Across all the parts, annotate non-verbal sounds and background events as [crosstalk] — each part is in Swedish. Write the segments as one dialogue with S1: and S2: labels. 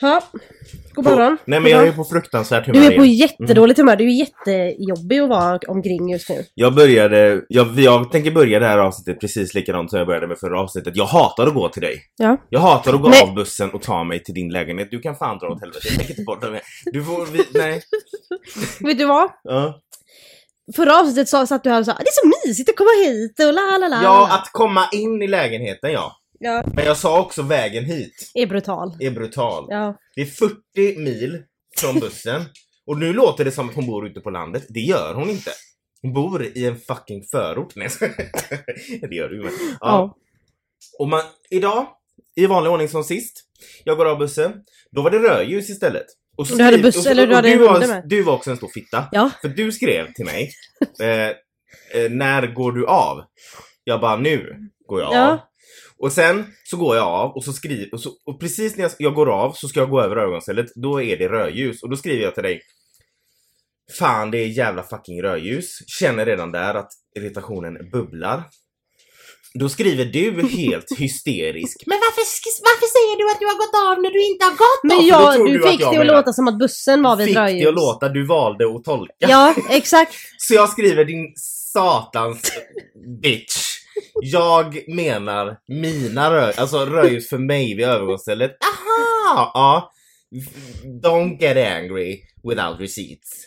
S1: Ja, god morgon.
S2: Nej men jag är ju på fruktansvärt humör
S1: Du är på
S2: igen.
S1: jättedåligt humör. Du är jättejobbig att vara omkring just nu.
S2: Jag började, jag, jag tänker börja det här avsnittet precis likadant som jag började med förra avsnittet. Jag hatar att gå till dig.
S1: Ja.
S2: Jag hatar att gå
S1: Nej.
S2: av bussen och ta mig till din lägenhet. Du kan fan dra åt helvete, jag tänker inte bort dig. Du får,
S1: [laughs]
S2: vi, nej.
S1: Vet du vad?
S2: Ja.
S1: Förra avsnittet sa, satt du här och sa "Ah, det är så mysigt att komma hit och la la la.
S2: ja, att komma in i lägenheten ja.
S1: ja.
S2: Men jag sa också vägen hit
S1: Är brutal.
S2: är brutal.
S1: Ja.
S2: Det är 40 mil från bussen. Och nu låter det som att hon bor ute på landet. Det gör hon inte. Hon bor i en fucking förort. Nej, jag skojar. [laughs] det gör du ju. men- Ja.
S1: Ja.
S2: Och man, idag, i vanlig ordning som sist, jag går av bussen. Då var det rödljus istället. Och så
S1: Du hade
S2: skrev-
S1: buss-
S2: och så-
S1: eller du
S2: och
S1: hade en runda
S2: var,
S1: med.
S2: du var också en stor fitta.
S1: Ja.
S2: För du skrev
S1: [laughs]
S2: till mig, eh, eh, när går du av? Jag bara, nu går jag
S1: Ja.
S2: av. Och sen så går jag av och så skriver, och, så, och precis när jag, jag går av så ska jag gå över ögonstället, då är det rödljus. Och då skriver jag till dig, fan det är jävla fucking rödljus. Känner redan där att irritationen bubblar. Då skriver du
S1: [laughs]
S2: helt hysterisk. Men varför, sk- varför säger du att du har gått av när du inte har gått av?
S1: Men
S2: För då
S1: jag,
S2: tror
S1: du
S2: att
S1: fick
S2: jag
S1: det att
S2: menar-
S1: låta som att bussen var vid
S2: Fick
S1: ett
S2: det att
S1: rödljus.
S2: låta, du valde att tolka.
S1: Ja, exakt.
S2: Så jag skriver din satans bitch. Jag menar mina röj, alltså röjus för mig vid övergångsstället. Aha! Ja. Don't get angry without receipts.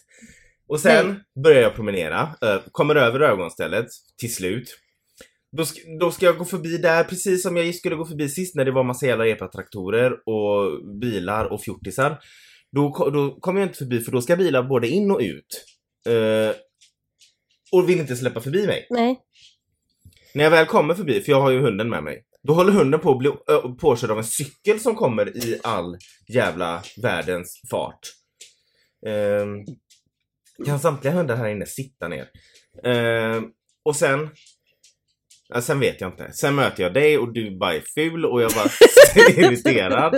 S2: Och sen börjar jag promenera, ö- kommer över övergångsstället till slut. Då, sk- då ska jag gå förbi där precis som jag skulle gå förbi sist när det var massa jävla epatraktorer och bilar och fjortisar. Då, ko- då kommer jag inte förbi för då ska bilar både in och ut. Eh, och vill inte släppa förbi mig.
S1: Nej.
S2: När jag väl kommer förbi, för jag har ju hunden med mig, då håller hunden på att bli ö, påkörd av en cykel som kommer i all jävla världens fart. Ehm, kan samtliga hundar här inne sitta ner? Ehm, och sen... Ja, sen vet jag inte. Sen möter jag dig och du bara är ful och jag bara [laughs] är irriterad.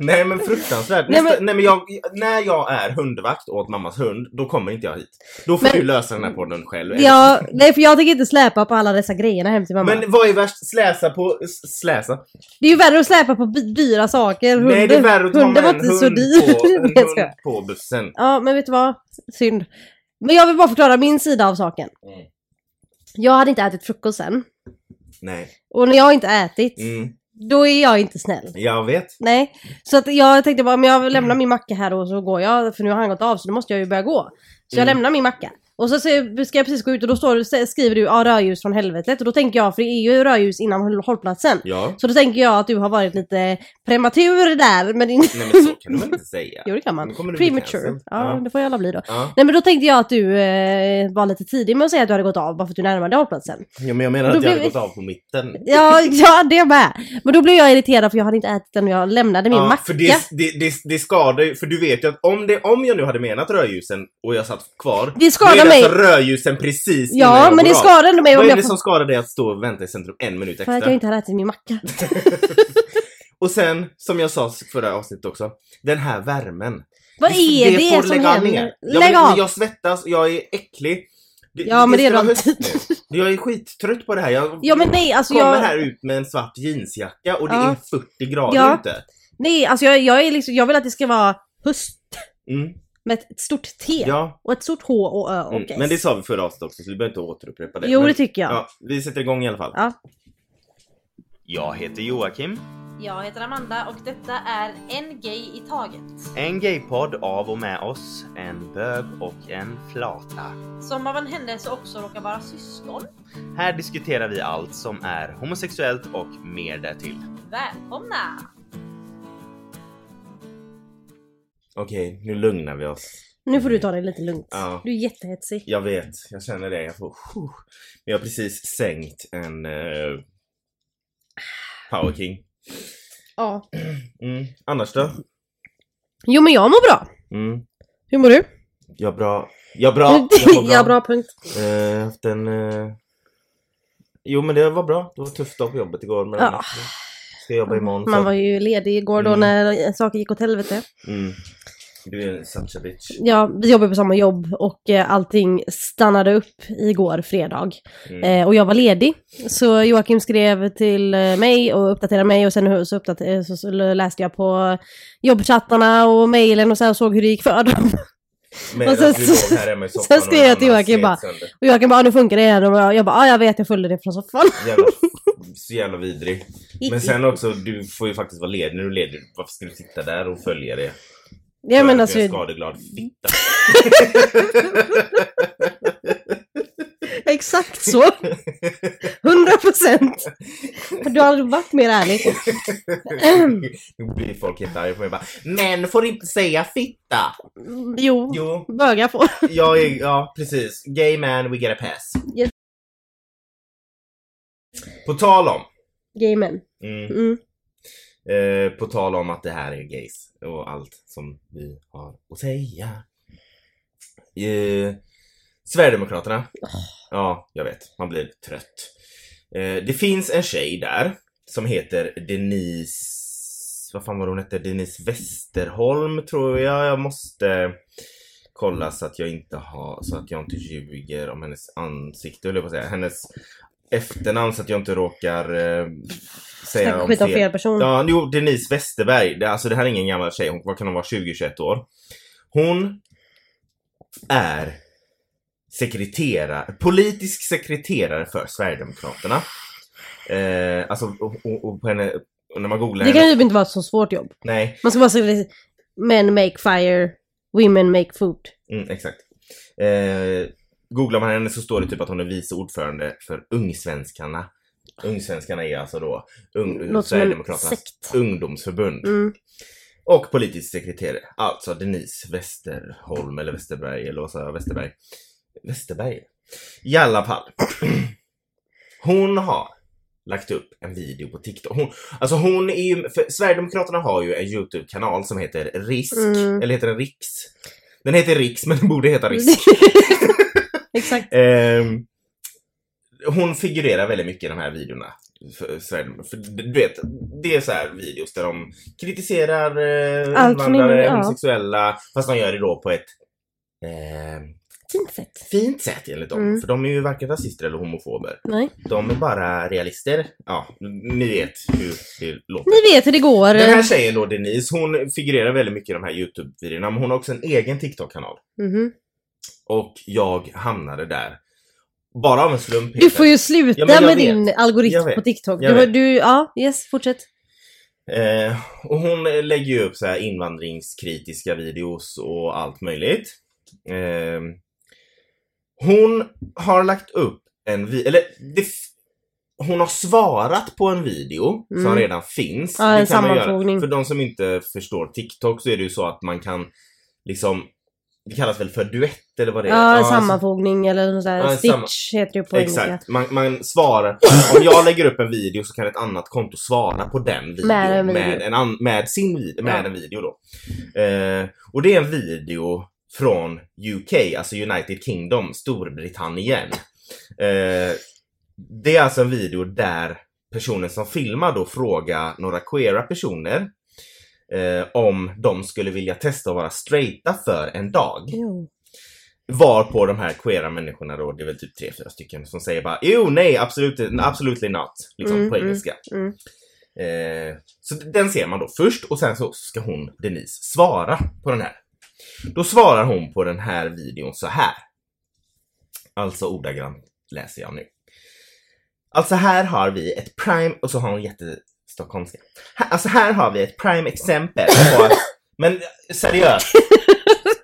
S2: Nej men fruktansvärt.
S1: Nej,
S2: Nästa,
S1: men-
S2: nej, men... jag, när jag är hundvakt åt mammas hund, då kommer inte jag hit. Då får
S1: Men-
S2: du lösa den här podden själv.
S1: Ja, nej för jag tänker inte släpa på alla dessa grejerna hem till mamma.
S2: Men vad är värst? Släsa på... s- Släsa?
S1: Det är ju värre att släpa på bi- dyra saker. Hunden,
S2: Nej det är värre att ta
S1: hunden
S2: med
S1: var
S2: en
S1: inte så
S2: hund,
S1: dyr.
S2: på,
S1: [laughs]
S2: en
S1: Nej, jag skojar.
S2: hund på bussen.
S1: Ja, men vet du vad? Synd. Men jag vill bara förklara min sida av saken.
S2: Mm.
S1: Jag hade inte ätit frukost sen.
S2: Nej.
S1: Och när jag inte ätit,
S2: Mm.
S1: då är jag inte snäll.
S2: Jag vet.
S1: Nej. Så att jag tänkte bara, men jag
S2: Mm.
S1: lämnar min macka här och så går jag. För nu har han gått av så då måste jag ju börja gå. Så jag
S2: Mm.
S1: lämnar min macka. Och så ser- ska jag precis gå ut och då står, det- skriver du ja, rödljus från helvetet. Och då tänker jag, för det är ju rödljus innan håll- hållplatsen.
S2: Ja.
S1: Så då tänker jag att du har varit lite prematur där med din...
S2: Nej men så kan man inte säga.
S1: [laughs] Jo det kan
S2: Nu
S1: man.
S2: kommer du bli
S1: Premature.
S2: cancelled.
S1: Ja,
S2: Ja.
S1: det får jag alla bli då.
S2: Ja.
S1: Nej men då tänkte jag att du eh, var lite tidig med att säga att du hade gått av bara för att du närmade dig
S2: [laughs]
S1: hållplatsen.
S2: ja men jag menar
S1: Då
S2: att jag hade
S1: blev-
S2: gått av på mitten.
S1: Ja, ja det med. Men då blev jag irriterad för jag hade inte ätit den och jag lämnade min
S2: Ja,
S1: macka.
S2: för det, det, det, det skadar ju, för du vet ju att om, det, om jag nu hade menat rödljusen och jag satt kvar.
S1: Det skadar
S2: då är det
S1: mig.
S2: Alltså rödljusen precis innan
S1: Ja
S2: jag
S1: men det
S2: går av.
S1: skadade ändå mig om
S2: Vad är
S1: jag...
S2: det som skadar dig att stå och vänta i centrum en minut
S1: För
S2: extra?
S1: att jag inte hade ätit min
S2: [laughs]
S1: macka.
S2: Och sen, som jag sa förra avsnittet också, den här värmen.
S1: Vad är det,
S2: får
S1: som
S2: lägga
S1: händer?
S2: Ner. Jag,
S1: Lägg
S2: men
S1: av!
S2: jag svettas och jag är äcklig. Det-
S1: Ja, men det är
S2: ska
S1: du
S2: vara
S1: alltid.
S2: höst nu. Jag är skittrött på det här. Jag
S1: [laughs] Ja men nej alltså
S2: kommer
S1: jag...
S2: här ut med en svart jeansjacka och det
S1: Ja.
S2: är 40 grader
S1: Ja.
S2: ute.
S1: Nej alltså jag, jag är liksom, jag vill att det ska vara höst
S2: Mm.
S1: med ett stort T.
S2: Ja.
S1: Och ett stort H och Ö och
S2: Mm.
S1: S.
S2: Men det sa vi förra avsnittet också så vi behöver inte återupprepa det.
S1: Jo
S2: men,
S1: det tycker jag.
S2: ja, Vi sätter igång i alla fall.
S1: Ja.
S2: Jag heter Joakim.
S1: Jag heter Amanda och detta är En Gay i Taget.
S2: En gaypodd av och med oss, en bög och en flata.
S1: Som av en händelse också råkar vara syskon.
S2: Här diskuterar vi allt som är homosexuellt och mer därtill.
S1: Välkomna!
S2: Okej, nu lugnar vi oss.
S1: Nu får du ta det lite lugnt.
S2: Ja.
S1: Du är jättehetsig.
S2: Jag vet, jag känner det. Jag, får, Puh. Men jag har precis sänkt en eh, Power King.
S1: Ja.
S2: Mm. Annars då?
S1: Jo men jag mår bra.
S2: Mm.
S1: Hur mår du?
S2: Jag bra. Jag bra.
S1: [laughs]
S2: Jag mår bra.
S1: ja, bra punkt.
S2: Eh, jag har haft en... eh, Jo men det var bra. Det var tufft dag på jobbet igår men
S1: Ja.
S2: annars ska jag jobba imorgon.
S1: Man
S2: så-
S1: var ju ledig igår då
S2: Mm.
S1: när saker gick åt helvete.
S2: mm. Du är such a bitch.
S1: Ja, vi jobbar på samma jobb och eh, allting stannade upp igår fredag.
S2: Mm.
S1: Eh, och jag var ledig. Så Joakim skrev till eh, mig och uppdaterade mig och sen hur- så, uppdater- eh, så, så läste jag på jobbchattarna och mejlen och så här och såg hur det gick för dem. [laughs]
S2: Men
S1: och sen-
S2: att du låg här hemma i soffan
S1: [laughs] sen
S2: och
S1: skrev
S2: en
S1: jag till
S2: annan
S1: Joakim
S2: smet
S1: bara-
S2: sönder.
S1: Och Joakim bara, "Ah, nu funkar det igen. Och jag- jag bara, ja jag vet, jag följde det från soffan.
S2: Jävla, så jävla vidrig.
S1: [laughs]
S2: Men sen också, du får ju faktiskt vara ledig när du är ledig. Varför ska du sitta där och följa det?
S1: jag menar
S2: alltså...
S1: alltså,
S2: En skadeglad fitta.
S1: exakt [laughs] så. 100 procent. Du har aldrig varit mer ärlig.
S2: [clears throat] Nu blir folk helt arga på mig bara, män får inte säga fitta!
S1: Jo,
S2: Jo,
S1: bögar får.
S2: jag är, ja precis. Gay man, we get a pass.
S1: Yes.
S2: På tal om.
S1: Gay men.
S2: Mm,
S1: Mm.
S2: eh, på tal om att det här är gays och allt som vi har att säga. Eh, Sverigedemokraterna. Ja, jag vet. Man blir trött. Eh, det finns en tjej där som heter Denise... Vad fan var hon hette? Denise Westerholm tror jag. Jag måste kolla så att jag inte har, så att jag inte ljuger om hennes ansikte höll jag på att säga. Hennes efternamn så att jag inte råkar eh, säga om
S1: Skit om
S2: fel.
S1: fel person.
S2: Ja, jo, Denise Westerberg. Det, alltså det här är ingen gammal tjej. Hon, vad kan hon vara? 20-21 år. Hon är sekreterare, politisk sekreterare för Sverigedemokraterna. Eh, alltså, och, och, och på henne, och när man googlar
S1: Det kan
S2: henne.
S1: ju inte vara ett så svårt jobb.
S2: Nej,
S1: Man ska bara säga men make fire, women make food.
S2: mm, exakt. Eh, googlar man henne så står det typ att hon är vice ordförande för Ungsvenskarna. Ungsvenskarna är alltså då ung,
S1: Något som en
S2: Sverigedemokraternas
S1: sekt.
S2: ungdomsförbund.
S1: Mm.
S2: Och politisk sekreterare, alltså Denise Westerholm eller Westerberg eller vad sa jag? Westerberg? Westerberg? I alla fall. [clears throat] Hon har lagt upp en video på TikTok. Hon, alltså hon är ju, för Sverigedemokraterna har ju en YouTube-kanal som heter Risk,
S1: Mm.
S2: eller heter den Riks? Den heter Riks men den borde heta Risk.
S1: [laughs] Exakt.
S2: Ehm, hon figurerar väldigt mycket i de här videorna. För, Sverigedemokraterna. för du vet, det är så här videos där de kritiserar eh,
S1: Allt som
S2: invandrare,
S1: är- ja.
S2: homosexuella, fast de gör det då på ett eh,
S1: Fint sätt.
S2: fint sätt enligt dem.
S1: Mm.
S2: För de är ju varken rasister eller homofober.
S1: Nej.
S2: De är bara realister. Ja, ni vet hur det låter.
S1: Ni vet hur det går.
S2: Den här tjejen då, Denise, hon figurerar väldigt mycket i de här YouTube-videorna, men hon har också en egen TikTok-kanal.
S1: Mhm.
S2: Och jag hamnade där. Bara av en slump.
S1: Du
S2: Peter.
S1: får ju sluta
S2: Ja, men jag
S1: med
S2: vet.
S1: din
S2: Jag
S1: algoritm
S2: vet.
S1: på TikTok.
S2: Jag
S1: Du,
S2: vet.
S1: du, ja, yes, fortsätt.
S2: Eh, och hon lägger ju upp så här invandringskritiska videos och allt möjligt. Eh, hon har lagt upp en video, eller det, f- hon har svarat på en video som
S1: Mm.
S2: redan finns.
S1: Ja, en
S2: man göra.
S1: sammanfogning.
S2: För de som inte förstår TikTok så är det ju så att man kan liksom, det kallas väl för duett eller vad det är?
S1: Ja, en
S2: alltså-
S1: sammanfogning eller något
S2: Ja,
S1: sådär.
S2: en
S1: Stitch heter det på engelska.
S2: Exakt, man, man svarar.
S1: [laughs]
S2: Om jag lägger upp en video så kan ett annat konto svara på den videon
S1: Med en video.
S2: Med, en an, med sin video, med
S1: Ja.
S2: en video då. Eh, och det är en video från UK, alltså United Kingdom, Storbritannien. Eh, det är alltså en video där personen som filmar då frågar några queera personer eh, om de skulle vilja testa att vara straighta för en dag.
S1: Jo.
S2: Var på de här queera människorna då, det är väl typ tre, fyra stycken som säger bara jo, nej, absolut, absolutely not. Liksom
S1: Mm,
S2: på
S1: mm,
S2: engelska.
S1: mm.
S2: Eh, så den ser man då först och sen så ska hon, Denise, svara på den här. Då svarar hon på den här videon så här. Alltså ordagrant läser jag nu. Alltså här har vi ett prime, och så har hon jättestockholmska. Här- Alltså här har vi ett prime exempel på att, men seriöst.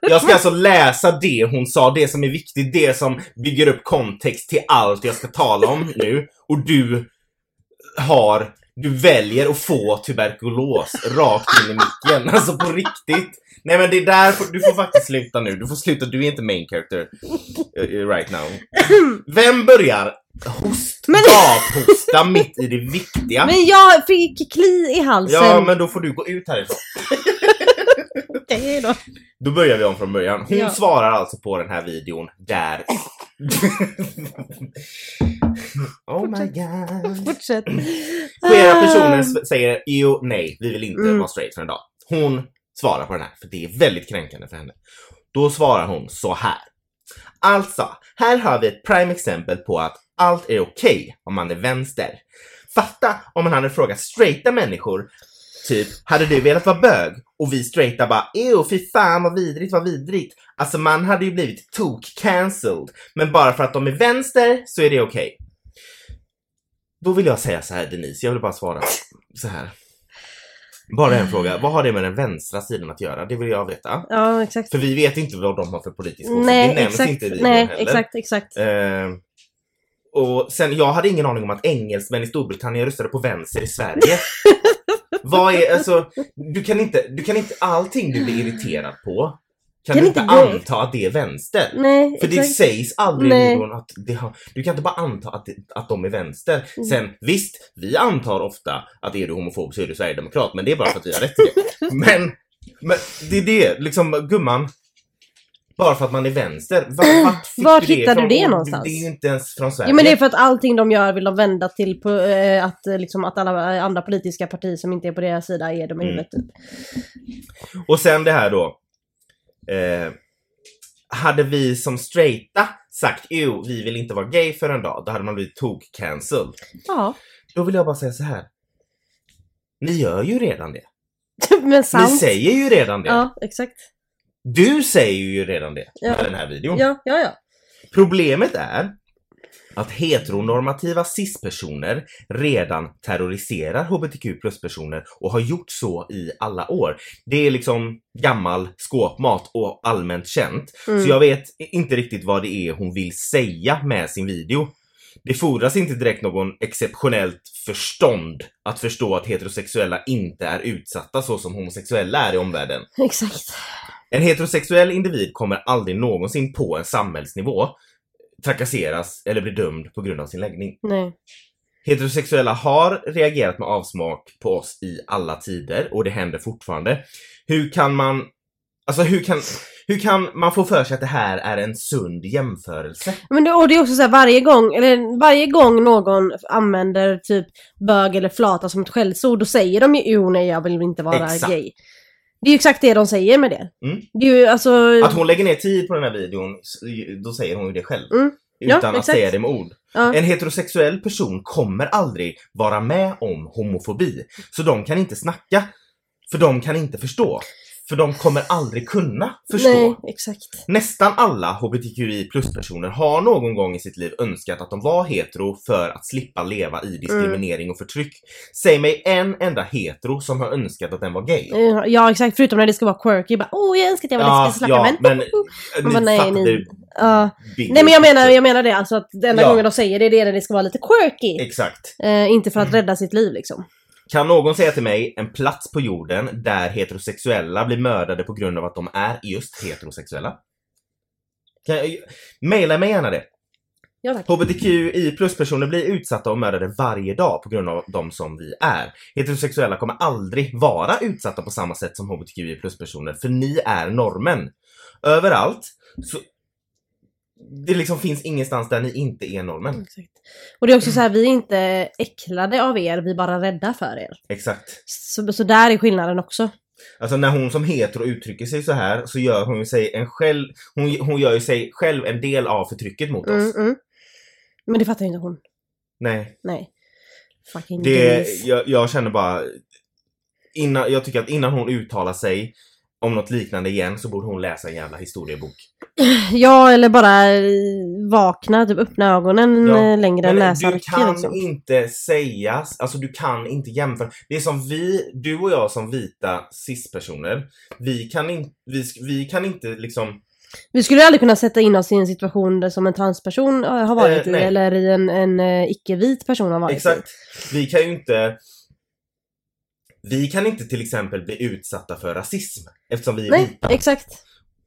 S2: Jag ska alltså läsa det hon sa, det som är viktigt, det som bygger upp kontext till allt jag ska tala om nu. Och du har, du väljer att få tuberkulos rakt in i micken. Alltså på riktigt. Nej men det är där, får- du får faktiskt sluta nu. Du får sluta, du är inte main character eh, right now. Vem börjar host,
S1: Men-
S2: gaphosta mitt i det viktiga?
S1: Men jag fick kli i halsen.
S2: Ah. Ja men då får du gå ut härifrån.
S1: Okej då.
S2: Då börjar vi om från början. Hon
S1: Ja.
S2: svarar alltså på den här videon där... oh my god.
S1: Fortsätt.
S2: Flera personer s- säger jo, nej, vi vill inte
S1: Mm.
S2: vara straight för en dag. Hon svara på den här, för det är väldigt kränkande för henne. Då svarar hon så här. Alltså, här har vi ett prime exempel på att allt är okej om man är vänster. Fatta om man hade frågat straighta människor, typ, hade du velat vara bög? Och vi straighta bara, ew, fy fan vad vidrigt, vad vidrigt. Alltså man hade ju blivit tok-cancelled. Men bara för att de är vänster så är det okej. Då vill jag säga så här Denise, jag vill bara svara så här. Bara
S1: Ah.
S2: en fråga, vad har det med den vänstra sidan att göra? Det vill jag veta.
S1: Ja, exakt.
S2: För vi vet inte vad de har för politisk åsikt.
S1: Nej,
S2: Liksom, det nämns
S1: exakt.
S2: inte i videon
S1: Nej,
S2: heller.
S1: exakt, exakt.
S2: Eh, och sen, jag hade ingen aning om att engelsmän i Storbritannien röstade på vänster
S1: [laughs]
S2: i Sverige. vad är, alltså, du kan inte, du kan inte, allting du blir irriterad på kan,
S1: Kan
S2: du inte
S1: inte gå-
S2: anta att det är vänster.
S1: Nej,
S2: För det
S1: exakt.
S2: sägs aldrig
S1: Nej.
S2: någon att det har, du kan inte bara anta att, det, att de är vänster.
S1: Mm.
S2: Sen visst, vi antar ofta att är du homofob så är du sverigedemokrat, men det är bara för att vi har rätt till
S1: [laughs]
S2: det. Men, men det är det, liksom gumman. Bara för att man är vänster. Var,
S1: [clears throat]
S2: vart fick
S1: Var
S2: du det
S1: hittar du
S2: ifrån?
S1: det
S2: Och
S1: någonstans?
S2: Det är ju inte ens från Sverige.
S1: Jo men det är för att allting de gör vill de vända till på, eh, att, eh, liksom, att alla eh, andra politiska partier som inte är på deras sida är dem i
S2: Mm.
S1: huvudet. Typ.
S2: Och sen det här då. Eh, hade vi som straighta sagt jo, vi vill inte vara gay för en dag, då hade man blivit tok-cancelled.
S1: Ja,
S2: Då vill jag bara säga så här. Ni gör ju redan det.
S1: [laughs] men
S2: Ni
S1: sant.
S2: säger ju redan det.
S1: Ja, exakt.
S2: Du säger ju redan det
S1: Ja.
S2: med den här videon.
S1: Ja, ja, ja.
S2: Problemet är att heteronormativa cis-personer redan terroriserar hbtq plus-personer och har gjort så i alla år. Det är liksom gammal skåpmat och allmänt känt.
S1: Mm.
S2: Så jag vet inte riktigt vad det är hon vill säga med sin video. Det fordras inte direkt någon exceptionellt förstånd att förstå att heterosexuella inte är utsatta så som homosexuella är i omvärlden.
S1: Mm. [laughs] Exakt.
S2: En heterosexuell individ kommer aldrig någonsin på en samhällsnivå trakasseras eller bli dömd på grund av sin läggning.
S1: Nej.
S2: Heterosexuella har reagerat med avsmak på oss i alla tider och det händer fortfarande. Hur kan man, alltså hur kan, hur kan man få för sig att det här är en sund jämförelse?
S1: Men det, och det är också så här, varje gång, eller varje gång någon använder typ bög eller flata som ett skällsord, då säger de ju jo nej jag vill inte vara
S2: Exakt.
S1: gay. Det är ju exakt det de säger med det.
S2: Mm.
S1: Det är ju alltså...
S2: Att hon lägger ner tid på den här videon, s- då säger hon ju det själv.
S1: Mm. Ja,
S2: Utan att
S1: exakt.
S2: säga det med ord.
S1: Ja.
S2: En heterosexuell person kommer aldrig vara med om homofobi. Så de kan inte snacka. För de kan inte förstå. För de kommer aldrig kunna förstå.
S1: Nej, exakt.
S2: Nästan alla hbtqi plus-personer har någon gång i sitt liv önskat att de var hetero för att slippa leva i diskriminering och förtryck. Säg mig en enda hetero som har önskat att den var gay.
S1: Eh, Ja, exakt. Förutom när det ska vara quirky. Bara, oh, jag önskar att jag var lesbisk och
S2: Ah, ja,
S1: slackare, men... Man
S2: men ni
S1: bara, nej,
S2: fattar
S1: nej.
S2: ju
S1: Ja. [laughs]
S2: bilden.
S1: Nej men jag menar, jag menar det alltså att den enda
S2: Ja.
S1: gången de säger det, det är när det ska vara lite quirky.
S2: Exakt.
S1: Eh, inte
S2: Mm.
S1: för att rädda sitt liv liksom.
S2: Kan någon säga till mig en plats på jorden där heterosexuella blir mördade på grund av att de är just heterosexuella? Kan jag, maila mig gärna det.
S1: Ja tack.
S2: HBTQI plus-personer blir utsatta och mördade varje dag på grund av de som vi är. Heterosexuella kommer aldrig vara utsatta på samma sätt som HBTQI plus-personer, för ni är normen. Överallt, så... Det liksom finns ingenstans där ni inte är normen.
S1: Exakt. Och det är också så här, vi är inte äcklade av er, vi är bara rädda för er.
S2: Exakt.
S1: Så, så där är skillnaden också.
S2: Alltså när hon som hetero uttrycker sig så här så gör hon ju sig en själv, hon, hon gör ju sig själv en del av förtrycket mot
S1: Mm,
S2: oss.
S1: mm. Men det fattar ju inte hon.
S2: Nej,
S1: Nej. Fucking
S2: det,
S1: gays.
S2: jag, jag känner bara, innan, jag tycker att innan hon uttalar sig om något liknande igen så borde hon läsa en jävla historiebok.
S1: [laughs] Ja, eller bara eh, vakna, typ öppna ögonen
S2: Ja.
S1: eh, längre än
S2: Men du
S1: näsarken
S2: kan
S1: liksom.
S2: inte säga, alltså du kan inte jämföra. Det är som vi, du och jag som vita cis-personer, vi kan, in, vi, sk- vi kan inte liksom,
S1: Vi skulle ju aldrig kunna sätta in oss i en situation där som en transperson eh, har varit
S2: Eh,
S1: i,
S2: nej.
S1: eller i en, en eh, icke-vit person har varit i.
S2: Exakt. Vi kan ju inte vi kan inte till exempel bli utsatta för rasism eftersom vi är vita.
S1: Nej, exakt.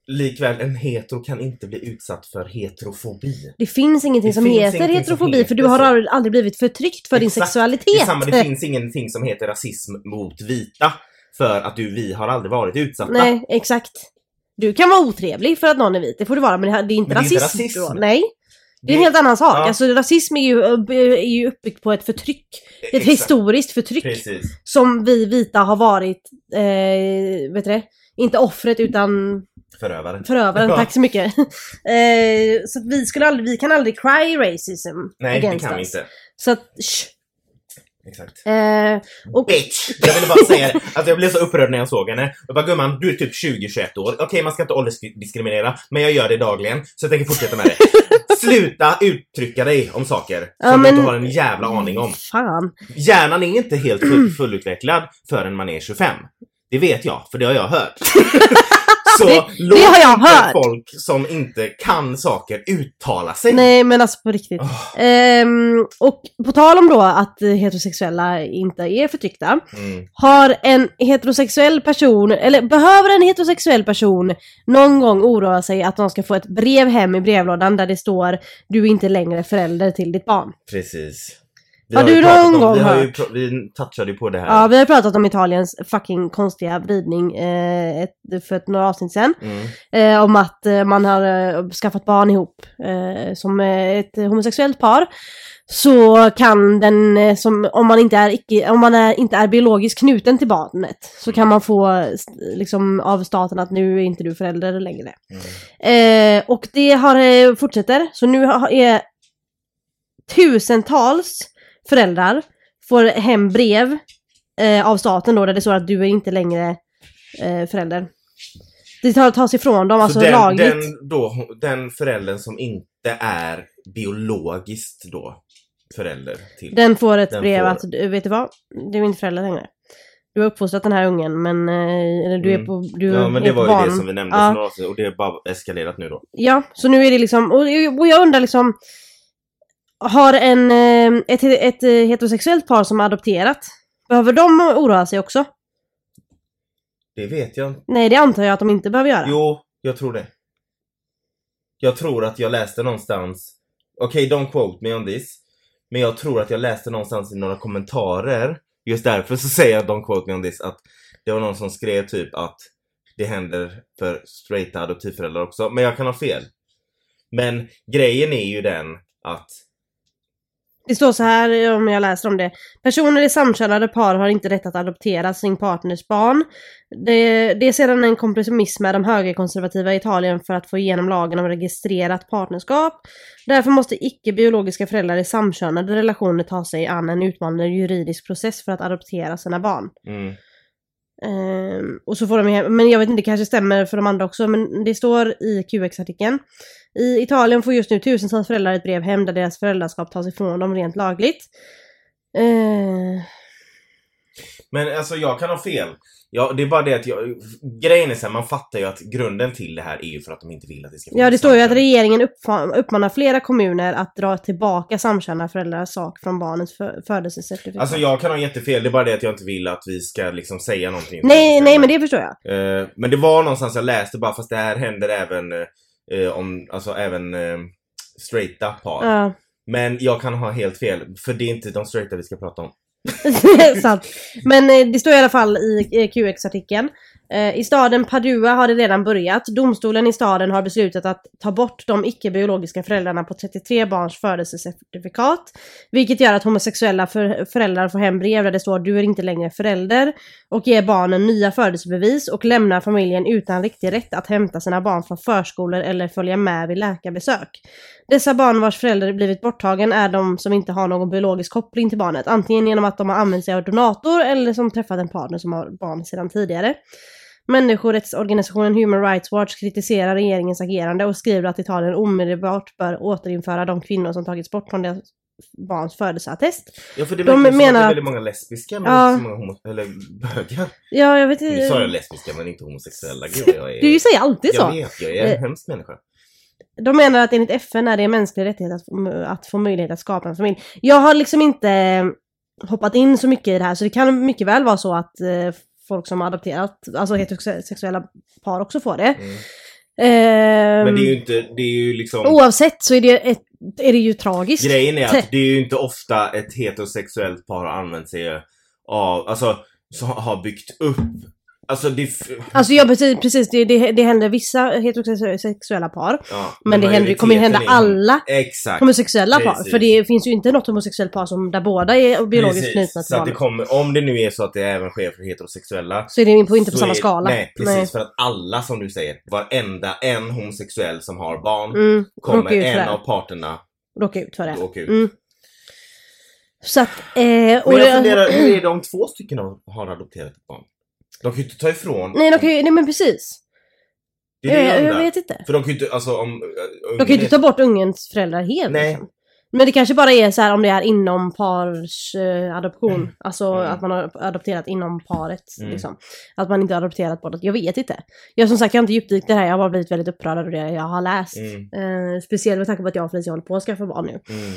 S2: Likväl, en hetero kan inte bli utsatt för heterofobi.
S1: Det finns ingenting
S2: Det
S1: som
S2: finns
S1: heter
S2: ingenting som
S1: heterofobi
S2: heter
S1: för du har
S2: så.
S1: aldrig- aldrig blivit förtryckt för din
S2: Exakt.
S1: sexualitet.
S2: Det,
S1: [laughs]
S2: är samma, det finns ingenting som heter rasism mot vita för att du, vi har aldrig varit utsatta.
S1: Nej, exakt. Du kan vara otrevlig för att någon är vit, det får du vara, men det här- det är inte
S2: Men det är inte
S1: rasism.
S2: rasism.
S1: Nej. Det är en helt annan sak.
S2: Ja.
S1: Alltså rasism är ju, är ju uppbyggt på ett förtryck. Ett
S2: Exakt.
S1: historiskt förtryck.
S2: Precis.
S1: Som vi vita har varit, eh, vet du det? Inte offret utan
S2: Förövaren.
S1: förövaren,
S2: Ja.
S1: tack så mycket. [laughs] eh, så att vi skulle aldrig, vi kan aldrig cry racism
S2: Nej, det
S1: against
S2: kan vi
S1: us.
S2: inte.
S1: Så att, shh.
S2: Exakt.
S1: Eh, och,
S2: Bitch! Jag ville bara säga det. Alltså jag blev så upprörd när jag såg henne. Jag bara, gumman, du är typ 20-21 år. Okej, man ska inte åldersdiskriminera, men jag gör det dagligen, så jag tänker
S1: [laughs]
S2: fortsätta med det. Sluta uttrycka dig om saker som
S1: Ja,
S2: du
S1: men-
S2: inte har en jävla aning om.
S1: Fan.
S2: Hjärnan är inte helt
S1: Mm.
S2: full, fullutvecklad förrän man är 25. Det vet jag, för det har
S1: [laughs]
S2: jag hört. så
S1: Det-
S2: låt
S1: det har jag
S2: inte
S1: hört.
S2: folk som inte kan saker uttala sig.
S1: Nej men alltså på riktigt.
S2: Åh,
S1: Ehm, och på tal om då att heterosexuella inte är förtryckta.
S2: mm.
S1: Har en heterosexuell person, eller behöver en heterosexuell person någon gång oroa sig att de ska få ett brev hem i brevlådan där det står du är inte längre förälder till ditt barn?
S2: Precis. Vi
S1: Har
S2: ju
S1: du
S2: pratat
S1: någon
S2: om-
S1: gång
S2: vi, har ju,
S1: hört?
S2: pra- vi touchade ju på det här.
S1: Ja, vi har pratat om Italiens fucking konstiga vridning eh, ett, för ett, några avsnitt sedan.
S2: Mm.
S1: Eh, om att eh, man har eh, skaffat barn ihop eh, som eh, ett homosexuellt par. Så kan den, eh, som, om man, inte är, icke, om man är, inte är biologiskt knuten till barnet, så kan man få eh, st- liksom, av staten att nu är inte du förälder längre.
S2: Mm.
S1: Eh, och det har, eh, fortsätter, så nu har, är tusentals föräldrar får hem brev eh, av staten då, där det står att du är inte längre eh, förälder. Det tar- tas ifrån dem, alltså
S2: så den,
S1: lagligt.
S2: Den, då, den föräldern som inte är biologiskt då förälder till.
S1: Den får ett
S2: Den
S1: brev
S2: får-
S1: att, du- vet du vad? Du är inte förälder längre. Du har uppfostrat den här ungen, men eh, eller du är
S2: Mm.
S1: på, du
S2: ja men
S1: är
S2: det
S1: på
S2: var ju
S1: barn.
S2: det som vi nämnde
S1: Ja.
S2: för några avsnitt och det har bara eskalerat nu då.
S1: Ja, så nu är det liksom, och, och jag undrar liksom, har en, eh, ett, ett eh, heterosexuellt par som har adopterat, behöver de oroa sig också?
S2: Det vet jag inte.
S1: Nej, det antar jag att de inte behöver göra.
S2: Jo, jag tror det. Jag tror att jag läste någonstans, okej don't quote me on this, men jag tror att jag läste någonstans i några kommentarer, just därför så säger jag don't quote me on this, att det var någon som skrev typ att det händer för straighta adoptivföräldrar också, men jag kan ha fel. Men grejen är ju den att,
S1: Det står så här, eh, om jag läser om det. Personer i samkönade par har inte rätt att adoptera sin partners barn. Det, det är sedan en kompromiss med de högerkonservativa i Italien för att få igenom lagen om registrerat partnerskap. Därför måste icke-biologiska föräldrar i samkönade relationer ta sig an en utmanande juridisk process för att adoptera sina barn.
S2: mm,
S1: Ehm, och så får de hem, men jag vet inte, det kanske stämmer för de andra också, men det står i QX-artikeln. I Italien får just nu tusentals föräldrar ett brev hem där deras föräldraskap tas ifrån dem rent lagligt. Ehm,
S2: men alltså jag kan ha fel. Ja, det är bara det att jag, grejen är så här, man fattar ju att grunden till det här är ju för att de inte vill att det ska
S1: ja, det står ju att
S2: samkönat.
S1: regeringen uppfa- uppmanar flera kommuner att dra tillbaka samkönade föräldrars sak från barnets fö- födelsecertifikat.
S2: Alltså jag kan ha jättefel, det är bara det att jag inte vill att vi ska liksom säga någonting. Typ.
S1: nej, nej, men det förstår jag.
S2: Eh, men det var någonstans jag läste bara, fast det här händer även eh, eh, om, alltså även eh, straighta par.
S1: Ja,
S2: Men jag kan ha helt fel, för det är inte de straighta vi ska prata om.
S1: [laughs] sant. Men eh, det står i alla fall i eh, QX-artikeln. Eh, I staden Padua har det redan börjat. Domstolen i staden har beslutat att ta bort de icke-biologiska föräldrarna på 33 barns födelsecertifikat. Vilket gör att homosexuella för- föräldrar får hem brev där det står du är inte längre förälder. Och ger barnen nya födelsebevis och lämnar familjen utan riktig rätt att hämta sina barn från förskolor eller följa med vid läkarbesök. Dessa barn vars förälder blivit borttagen är de som inte har någon biologisk koppling till barnet. Antingen genom att de har använt sig av donator eller som träffat en partner som har barn sedan tidigare. Människorättsorganisationen Human Rights Watch kritiserar regeringens agerande och skriver att Italien omedelbart bör återinföra de kvinnor som tagits bort från deras barns födelseattest.
S2: Ja, för det
S1: De
S2: verkar ju som att
S1: menar
S2: det är
S1: att-
S2: väldigt många lesbiska, men
S1: Ja.
S2: inte så många homo- eller bögar.
S1: Ja, jag vet
S2: Nu sa jag
S1: inte.
S2: lesbiska, men inte homosexuella. Gud, vad jag är...
S1: Du säger alltid
S2: jag
S1: så.
S2: vet, jag är
S1: Eh.
S2: en hemsk människa.
S1: De menar att enligt FN är det en mänsklig rättighet att få, att få möjlighet att skapa en familj. Jag har liksom inte hoppat in så mycket i det här så det kan mycket väl vara så att eh, folk som har adopterat, alltså heterosexuella par också får det.
S2: Mm.
S1: Ehm,
S2: Men det är ju inte, det är ju liksom...
S1: Oavsett så är det, ett, är det ju tragiskt.
S2: Grejen är
S1: [laughs]
S2: att det är ju inte ofta ett heterosexuellt par har använt sig av, alltså, som har byggt upp Alltså det... f-
S1: Alltså jag precis, precis det, det, det händer vissa heterosexuella par.
S2: Ja,
S1: Men det händer, kommer ju hända
S2: majoriteten är-
S1: alla
S2: Exakt.
S1: homosexuella par.
S2: Precis.
S1: För det finns ju inte något homosexuellt par som, där båda är biologiskt knutna till
S2: Precis, så att det
S1: varandra.
S2: kommer, om det nu är så att det även sker för heterosexuella.
S1: Så är det på, inte på
S2: så
S1: samma
S2: är-
S1: skala.
S2: Nej precis, för att alla som du säger, varenda en homosexuell som har barn
S1: Mm,
S2: kommer
S1: råkar ut för
S2: en
S1: det.
S2: av parterna
S1: Råka ut för det.
S2: att åka ut.
S1: Mm. Så att, eh, och
S2: Men jag
S1: det-
S2: funderar, hur är det om två stycken har- har adopterat ett barn? De kan ju inte ta ifrån.
S1: Nej, de kan ju, nej men precis.
S2: det är det
S1: jag,
S2: jag,
S1: jag
S2: undrar.
S1: vet inte.
S2: För de kan ju inte, alltså om... äh,
S1: De kan ju inte ta bort ungens föräldrar helt.
S2: Nej.
S1: liksom. Men det kanske bara är så här om det är inom pars eh, adoption. Alltså
S2: Mm.
S1: att man har adopterat inom paret.
S2: Mm.
S1: Liksom. Att man inte har adopterat båda. Jag vet inte. Jag som sagt, jag har inte djupdykt i det här. Jag har bara blivit väldigt upprörd av det jag har läst.
S2: Mm,
S1: Eh, speciellt med tanke på att jag och Felicia håller på att skaffa barn nu.
S2: mm,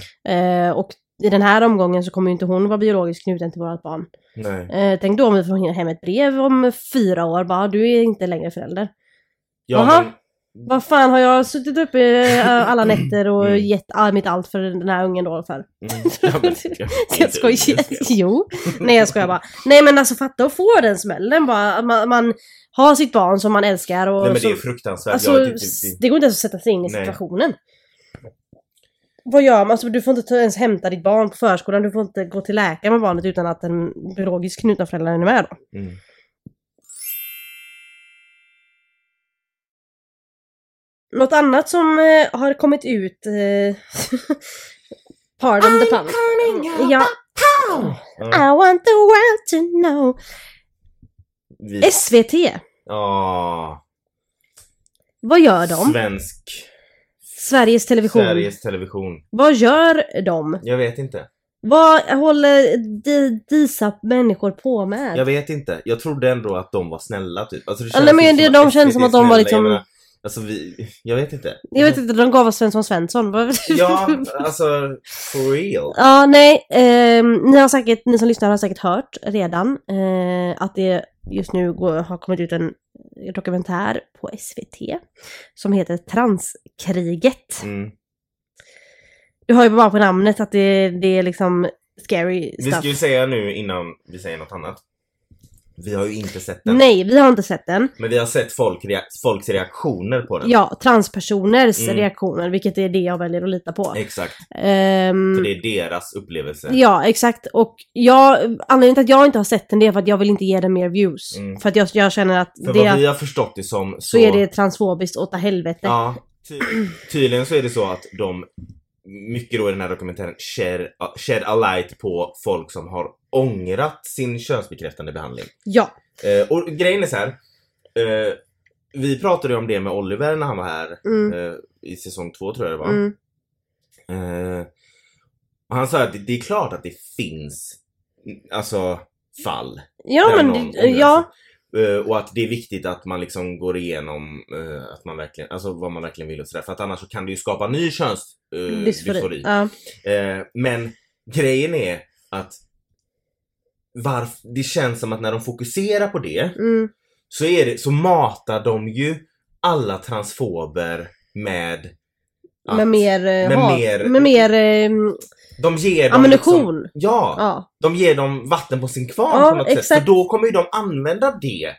S1: Eh, och i den här omgången så kommer ju inte hon vara biologiskt knuten till vårt barn.
S2: nej.
S1: Eh, tänk då om vi får hem ett brev om fyra år. Bara, du är inte längre förälder.
S2: Ja,
S1: Jaha.
S2: men-
S1: Vad fan har jag suttit uppe eh, alla nätter och
S2: [clears throat] Mm.
S1: gett all, mitt allt för den här ungen då för? [laughs]
S2: Mm. Ja, men-
S1: Jag skojar. [laughs] Jo. Nej jag skojar bara. Nej men alltså fatta att få den smällen bara. Att man, man har sitt barn som man älskar och
S2: Nej men det är
S1: som,
S2: fruktansvärt.
S1: Alltså
S2: jag, tycker det,
S1: det går inte ens att sätta sig in i
S2: Nej.
S1: situationen. Vad gör man? Alltså, du får inte ta- ens hämta ditt barn på förskolan. Du får inte gå till läkaren med barnet utan att den biologiskt knutna föräldern är med då.
S2: mm.
S1: Något annat som eh, har kommit ut... Eh, [laughs] pardon the pun. Ja,
S2: Ja,
S1: I want the world to know.
S2: vi-
S1: SVT,
S2: Ja,
S1: vad gör de?
S2: Svensk.
S1: Sveriges Television.
S2: Sveriges Television.
S1: Vad gör de?
S2: Jag vet inte.
S1: Vad håller di- disa människor på med?
S2: Jag vet inte. Jag trodde ändå att de var snälla typ. Alltså, det
S1: Ja, nej, men
S2: inte
S1: det-
S2: som
S1: de
S2: att
S1: känns
S2: SVT
S1: som att de var
S2: snälla.
S1: liksom-
S2: Jag menar, alltså vi, jag vet inte.
S1: Jag vet inte, de gav oss Svensson Svensson. Vad-
S2: Ja, alltså
S1: [laughs]
S2: for real.
S1: Ja, nej. ehm, ni, har säkert, ni som lyssnar har säkert hört redan eh, att det just nu går, har kommit ut en dokumentär på SVT som heter Transkriget.
S2: Mm.
S1: Du har ju bara på namnet att det, det är liksom scary
S2: Vi ska ju
S1: stuff.
S2: säga nu innan vi säger något annat. Vi har ju inte sett den. Mm.
S1: Nej, vi har inte sett den.
S2: Men vi har sett folk reak- folks reaktioner på den.
S1: Ja, transpersoners
S2: Mm.
S1: reaktioner, vilket är det jag väljer att lita på.
S2: Exakt.
S1: Ehm,
S2: För det är deras upplevelse.
S1: Ja, exakt. Och jag, anledningen till att jag inte har sett den det är för att jag vill inte ge den mer views.
S2: Mm.
S1: För att jag, jag känner att
S2: För
S1: det,
S2: vad vi har förstått det som så...
S1: så är det transfobiskt åt helvete.
S2: Ja, ty tydligen så är det så att de mycket då i den här dokumentären shed, shed a light på folk som har ångrat sin könsbekräftande behandling.
S1: Ja.
S2: Eh, och grejen är så här. Eh, vi pratade ju om det med Oliver när han var här
S1: Mm.
S2: eh, i säsong två tror jag det var.
S1: Mm.
S2: Eh, och han sa att det, det är klart att det finns alltså fall.
S1: Ja,
S2: där
S1: men
S2: någon
S1: det-
S2: ångrar
S1: ja,
S2: sig. Eh, Och att det är viktigt att man liksom går igenom eh, att man verkligen, alltså vad man verkligen vill och sådär. För att annars så kan det ju skapa ny
S1: dysfori.
S2: könsdysfori.
S1: Ja.
S2: Eh, men grejen är att varf- det känns som att när de fokuserar på det
S1: Mm.
S2: så, är det, så matar de ju alla transfober med att
S1: Med mer, eh,
S2: med
S1: hat.
S2: mer-
S1: med mer eh,
S2: de ger dem liksom,
S1: ammunition.
S2: ja,
S1: Ja.
S2: de ger dem vatten på sin kvarn
S1: Ja,
S2: på något sätt.
S1: exakt.
S2: För då kommer ju de använda det.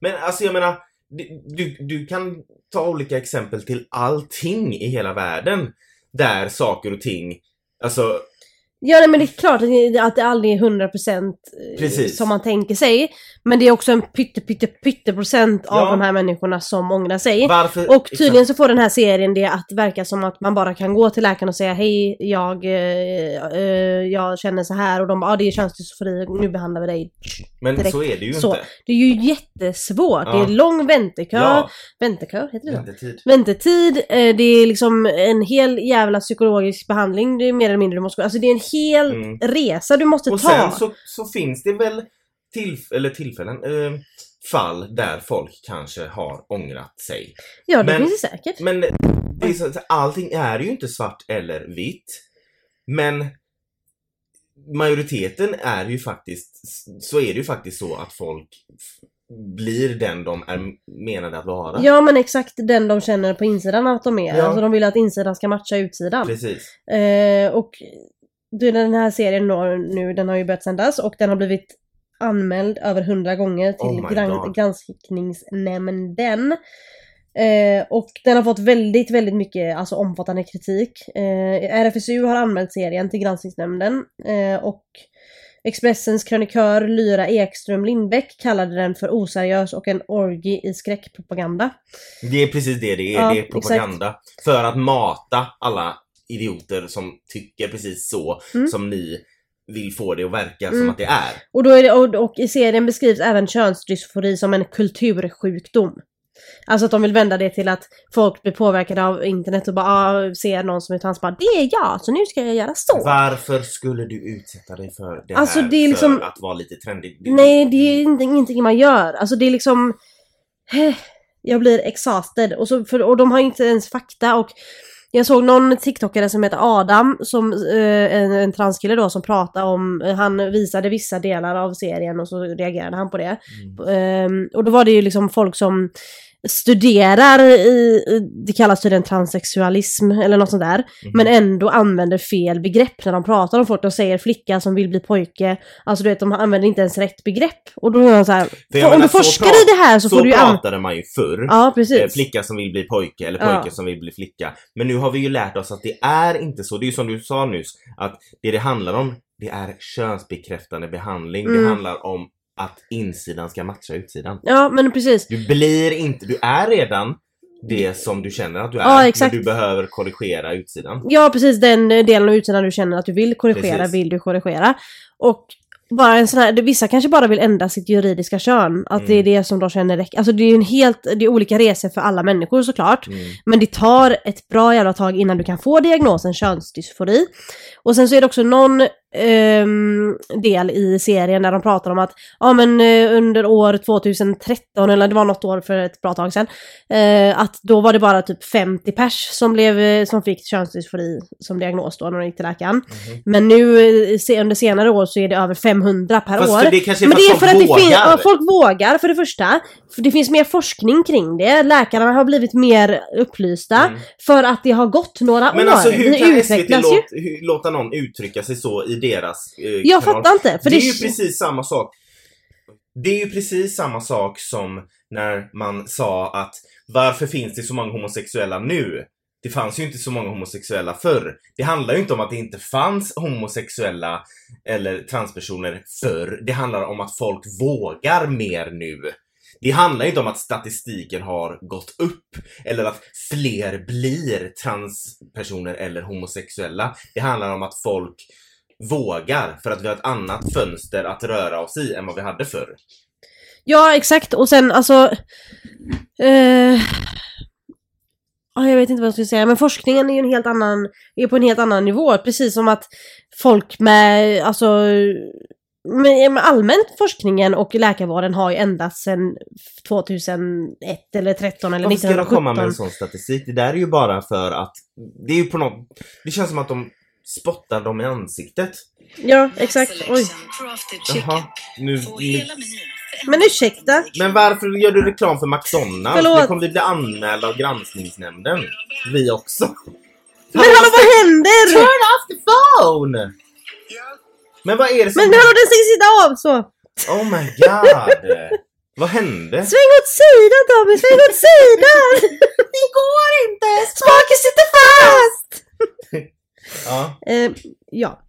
S2: Men alltså jag menar, du- du, du kan ta olika exempel till allting i hela världen. Där saker och ting, alltså
S1: Ja, nej, men det är klart att det- att det aldrig är 100% eh,
S2: Precis.
S1: som man tänker sig. Men det är också en pytte, pytte, pytte procent av
S2: Ja.
S1: de här människorna som ångrar sig.
S2: varför...
S1: Och tydligen så får den här serien det att verka som att man bara kan gå till läkaren och säga hej, jag, eh, eh, jag känner så här och de bara ah, det är könsdysfori, nu behandlar vi dig.
S2: Men
S1: direkt
S2: så är det ju
S1: så.
S2: inte.
S1: Det är ju jättesvårt, det är
S2: Ja.
S1: lång väntekö.
S2: Ja,
S1: Väntekö, heter det så?
S2: väntetid.
S1: Väntetid, eh, det är liksom en hel jävla psykologisk behandling, det är mer eller mindre du måste gå. Alltså det är en hel
S2: Mm.
S1: resa du måste
S2: Och
S1: ta.
S2: sen så, så finns det väl till, eller tillfällen, eh, fall där folk kanske har ångrat sig.
S1: ja, det
S2: men-
S1: finns det säkert.
S2: Men det är så, så allting är ju inte svart eller vitt. Men majoriteten är ju faktiskt, så är det ju faktiskt så att folk f- blir den de är menade att vara.
S1: Ja men exakt den de känner på insidan att de är.
S2: Mm. Ja.
S1: Alltså de vill att insidan ska matcha utsidan.
S2: Precis.
S1: Eh, och du, den här serien når nu, den har ju börjat sändas och den har blivit anmäld över hundra gånger till
S2: Oh my
S1: gran-
S2: God.
S1: granskningsnämnden. Eh, och den har fått väldigt, väldigt mycket alltså, omfattande kritik. Eh, RFSU har anmält serien till granskningsnämnden eh, och Expressens krönikör Lyra Ekström Lindbäck kallade den för oseriös och en orgi i skräckpropaganda.
S2: Det är precis det det är.
S1: Ja,
S2: det är propaganda. För att mata alla idioter som tycker precis så
S1: Mm.
S2: som ni vill få det att verka
S1: Mm.
S2: som att det är.
S1: Och, då är det, och, och i serien beskrivs även könsdysfori som en kultursjukdom. Alltså att de vill vända det till att folk blir påverkade av internet och bara ah, ser någon som är trans bara det är jag så nu ska jag göra så.
S2: Varför skulle du utsätta dig för det
S1: Alltså,
S2: här
S1: det är liksom-
S2: för att vara lite trendig? Det-
S1: Nej det är inte, ingenting man gör. Alltså det är liksom eh, jag blir exhausted. Och, så, för, och de har inte ens fakta och jag såg någon TikTokare som heter Adam, som, eh, en, en transkille då, som pratade om, han visade vissa delar av serien och så reagerade han på det.
S2: Mm.
S1: Ehm, och då var det ju liksom folk som studerar i, i- det kallas tydligen transsexualism eller något sånt där. Men ändå använder fel begrepp när de pratar om folk. De säger flicka som vill bli pojke. Alltså du vet, de använder inte ens rätt begrepp. Och då är de så här,
S2: För jag
S1: om
S2: menar,
S1: du
S2: så
S1: forskar
S2: prat-
S1: i det här så, Alltså,
S2: så
S1: får du ju an-
S2: pratade man ju förr.
S1: Ja,
S2: Eh,
S1: precis.
S2: Flicka som vill bli pojke eller
S1: Ja.
S2: pojke som vill bli flicka. Men nu har vi ju lärt oss att det är inte så. Det är ju som du sa nyss att det det handlar om det är könsbekräftande behandling.
S1: Mm.
S2: Det handlar om att insidan ska matcha utsidan.
S1: Ja, men precis.
S2: Du blir inte, du är redan det som du känner att du är.
S1: Ja, exakt.
S2: Men du behöver korrigera utsidan.
S1: Ja, precis den eh, delen av utsidan du känner att du vill korrigera
S2: Precis.
S1: vill du korrigera. Och bara en sån här, det- vissa kanske bara vill ändra sitt juridiska kön. Att det är
S2: Mm.
S1: det som de känner räcker. Alltså det är ju en helt, det är olika resor för alla människor såklart.
S2: Mm.
S1: Men det tar ett bra jävla tag innan du kan få diagnosen könsdysfori. Och sen så är det också någon ehm, del i serien där de pratar om att ja men eh, under år 2013 eller det var något år för ett bra tag sedan. Eh, att då var det bara typ 50 pers som, blev, eh, som fick könsdysfori som diagnos då när de gick till läkaren.
S2: Mhm.
S1: Men nu eh, se- under senare år så är det över 500 per
S2: Fast
S1: år.
S2: för det kanske är
S1: Men det är för att det
S2: Typ folk
S1: finns, ja,
S2: vågar.
S1: folk vågar för det första. För det finns mer forskning kring det. Läkarna har blivit mer upplysta.
S2: Mm.
S1: För att det har gått några
S2: Men
S1: år.
S2: alltså hur
S1: Vi
S2: kan SVT
S1: utvecklas ju.
S2: låt, hur, låta någon uttrycka sig så i deras eh,
S1: Jag
S2: kanal?
S1: fattar inte. För det,
S2: det är ju precis samma sak. Det är ju precis samma sak som när man sa att varför finns det så många homosexuella nu? Det fanns ju inte så många homosexuella förr. Det handlar ju inte om att det inte fanns homosexuella eller transpersoner förr. Det handlar om att folk vågar mer nu. Det handlar ju inte om att statistiken har gått upp eller att fler blir transpersoner eller homosexuella. Det handlar om att folk vågar för att vi har ett annat fönster att röra oss i än vad vi hade förr.
S1: Ja, exakt. Och sen alltså... Eh, ja, jag vet inte vad jag skulle säga, men forskningen är ju en helt annan... Är på en helt annan nivå. Precis som att folk med... Alltså... Med, med allmänt forskningen och läkarvården har ju ändrats sedan 2001 eller 13 eller
S2: Varför ska de
S1: 1917.
S2: komma med en sån statistik? Det där är ju bara för att det är ju på något... Det känns som att de spottar dem i ansiktet.
S1: Ja, exakt. Oj.
S2: Jaha, nu...
S1: Men ursäkta.
S2: Men varför gör du reklam för McDonalds?
S1: Förlåt.
S2: Nu kommer vi bli anmälda av granskningsnämnden. Vi också.
S1: Men hallå, vad händer?
S2: Phone! Men vad är det som...
S1: Men hallå, den ska sitta av så!
S2: Oh my god! vad hände?
S1: Sväng åt sidan Tommy, sväng åt sidan! det går inte! Spaken sitter fast!
S2: Ja.
S1: Eh, ja.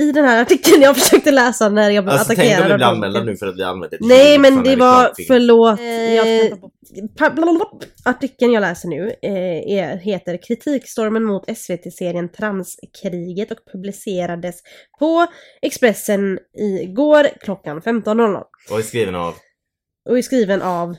S1: I den här artikeln jag [laughs] försökte läsa när jag blev
S2: Alltså tänk
S1: attackerad
S2: om vi
S1: av
S2: blir
S1: dem.
S2: anmälda nu för att vi använde ett
S1: Nej
S2: kön
S1: men
S2: som
S1: det
S2: en
S1: var,
S2: reklamfilm.
S1: förlåt.
S3: Jag
S1: Eh, pa- blablabla. Artikeln jag läser nu eh, är, heter Kritikstormen mot SVT-serien Transkriget och publicerades på Expressen igår klockan 15.00.
S2: Och är skriven av...
S1: Och är skriven av...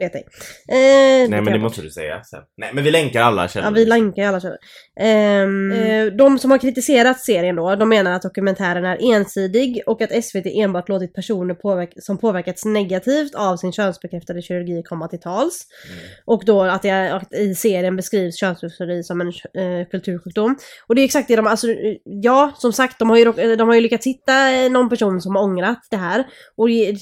S1: Vet ej. Eh,
S2: Nej men det
S1: jag-
S2: måste du säga sen. Nej men vi länkar alla källor.
S1: Ja, vi länkar i alla källor. Ehm, eh, De som har kritiserat serien då, de menar att dokumentären är ensidig och att SVT enbart låtit personer påverk- som påverkats negativt av sin könsbekräftade kirurgi komma till tals.
S2: Mm.
S1: Och då att, det, är- att i serien beskrivs könsdysfori som en eh, kultursjukdom. Och det är exakt det de, alltså eh, ja, som sagt, de har ju, rock- eh, de har ju lyckats hitta eh, någon person som har ångrat det här. Och ge-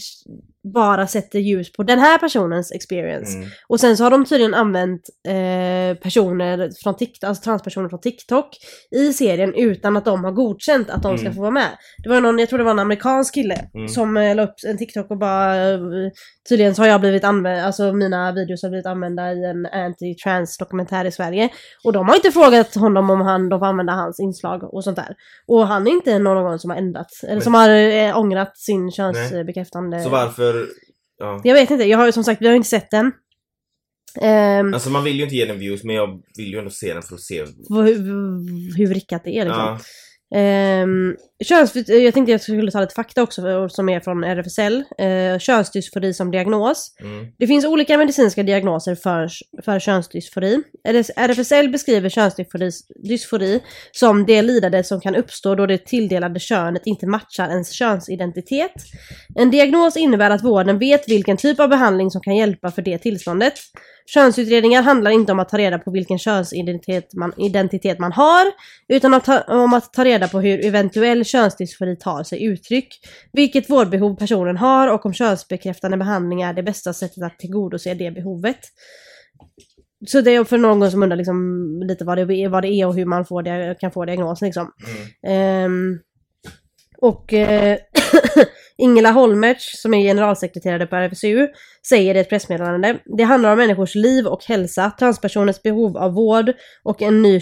S1: bara sätter ljus på den här personens experience.
S2: Mm.
S1: Och sen så har de tydligen använt eh, personer från TikTok, alltså transpersoner från TikTok i serien utan att de har godkänt att de ska
S2: Mm.
S1: få vara med. Det var någon, jag tror det var en amerikansk kille
S2: Mm.
S1: som eh, la upp en TikTok och bara eh, tydligen så har jag blivit använd, alltså mina videos har blivit använda i en anti-trans dokumentär i Sverige. Och de har inte frågat honom om han, de får använda hans inslag och sånt där. Och han är inte någon som har ändrat, eller
S2: Nej.
S1: som har eh, ångrat sin
S2: Nej.
S1: könsbekräftande...
S2: Så varför... Ja.
S1: Jag vet inte, jag har ju som sagt, vi har ju inte sett den. Ehm,
S2: Alltså man vill ju inte ge den views men jag vill ju ändå se den för att se.
S1: vad- hur, hur rickat det är liksom.
S2: Ja.
S1: Ehm, köns, jag tänkte jag skulle ta lite fakta också för- som är från RFSL. Uh, könsdysfori som diagnos.
S2: Mm.
S1: Det finns olika medicinska diagnoser för, för könsdysfori. RS RFSL beskriver könsdysfori dysfori som det lidande som kan uppstå då det tilldelade könet inte matchar ens könsidentitet. En diagnos innebär att vården vet vilken typ av behandling som kan hjälpa för det tillståndet. Könsutredningar handlar inte om att ta reda på vilken könsidentitet man, identitet man har, utan att ta, om att ta reda på hur eventuell könsdysfori tar sig uttryck, vilket vårdbehov personen har och om könsbekräftande behandling är det bästa sättet att tillgodose det behovet. Så det är för någon som undrar liksom lite vad det, vad det är och hur man får dia- kan få diagnosen. Liksom.
S2: Mm.
S1: Ehm, och eh, [clears throat] Ingela Holmertz, som är generalsekreterare på RFSU, säger i ett pressmeddelande. Det handlar om människors liv och hälsa, transpersoners behov av vård och en ny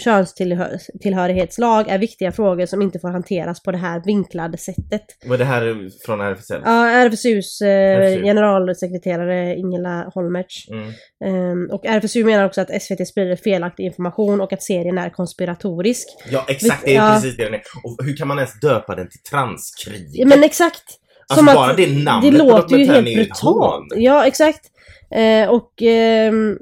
S1: könstillhörighetslag är viktiga frågor som inte får hanteras på det här vinklade sättet.
S2: Men det här är från RFSL?
S1: Ja, RFSUs eh,
S2: RFSU.
S1: generalsekreterare Ingela Holmertz
S2: Mm.
S1: Ehm, och RFSU menar också att SVT sprider felaktig information och att serien är konspiratorisk.
S2: Ja exakt, det är
S1: Ja.
S2: precis det den är. Och hur kan man ens döpa den till transkrig?
S1: Men exakt!
S2: Alltså, bara det namnet
S1: det
S2: på
S1: låter ju
S2: dokumentären
S1: helt
S2: är ju ett
S1: brutalt.
S2: hån.
S1: Ja, exakt. Eh, och ehm,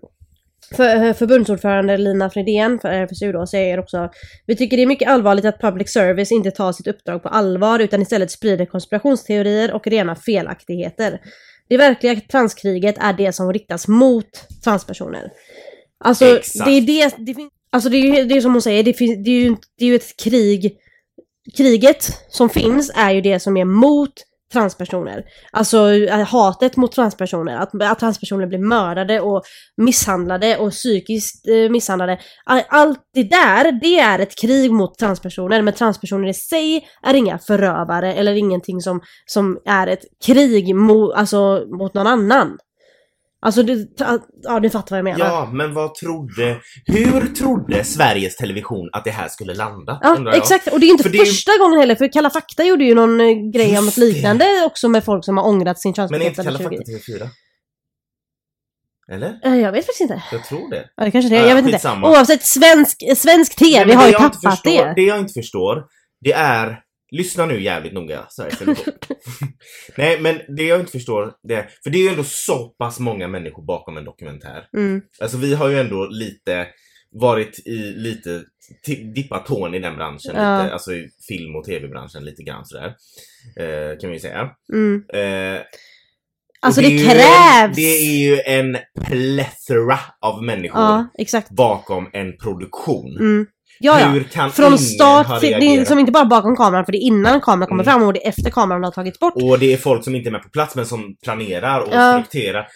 S1: för, förbundsordförande Lina Fridén för RFSU då säger också Vi tycker det är mycket allvarligt att public service inte tar sitt uppdrag på allvar utan istället sprider konspirationsteorier och rena felaktigheter. Det verkliga transkriget är det som riktas mot transpersoner. Alltså,
S2: Exakt.
S1: det är det, det finns, alltså det är ju det är som hon säger, det, finns, det, är ju, inte- det är ju ett krig, kriget som finns är ju det som är mot transpersoner. Alltså eh, hatet mot transpersoner, att, att transpersoner blir mördade och misshandlade och psykiskt eh, misshandlade. All- Allt det där, det är ett krig mot transpersoner, men transpersoner i sig är inga förövare eller ingenting som, som är ett krig mot, alltså, mot någon annan. Alltså, du, ta- ja, du fattar vad jag menar.
S2: Ja, men vad trodde... Hur trodde Sveriges Television att det här skulle landa?
S1: Ja,
S2: undrar jag.
S1: exakt. Och det är ju inte
S2: För det är ju-
S1: första gången heller, för Kalla fakta gjorde ju någon eh, grej om något
S2: Just
S1: liknande också med folk som har ångrat sin
S2: Men är inte
S1: könsbekräftande
S2: Kalla
S1: 20.
S2: fakta TV4? Eller?
S1: Eh, Jag vet faktiskt inte.
S2: Jag tror det.
S1: Ja, det kanske det är.
S2: Ja,
S1: Jag vet inte.
S2: skitsamma.
S1: Oavsett, svensk, eh, svensk
S2: Nej,
S1: tv
S2: men
S1: har ju
S2: jag inte
S1: tappat
S2: förstår,
S1: det.
S2: Det jag inte förstår, det är... Lyssna nu jävligt noga, Sveriges Television.
S1: [laughs]
S2: Nej, men det jag inte förstår, det är... För det är ju ändå så pass många människor bakom en dokumentär.
S1: Mm.
S2: Alltså vi har ju ändå lite varit i lite, ti- dippat tån i den branschen
S1: Ja.
S2: lite, alltså i film och tv-branschen lite grann sådär. Eh, kan vi ju säga.
S1: Mm.
S2: Eh,
S1: Alltså
S2: och
S1: det,
S2: är ju
S1: krävs!
S2: En, det är ju en plethora av människor
S1: Ja, exakt.
S2: bakom en produktion.
S1: Mm. Ja, ja.
S2: Hur kan
S1: Från
S2: ingen
S1: start
S2: ha
S1: till, det är
S2: reagerat?
S1: liksom inte bara bakom kameran, för det är innan kameran kommer
S2: Mm.
S1: fram och det är efter kameran har tagits bort.
S2: Och det är folk som inte är med på plats men som planerar och
S1: Ja.
S2: strukturerar.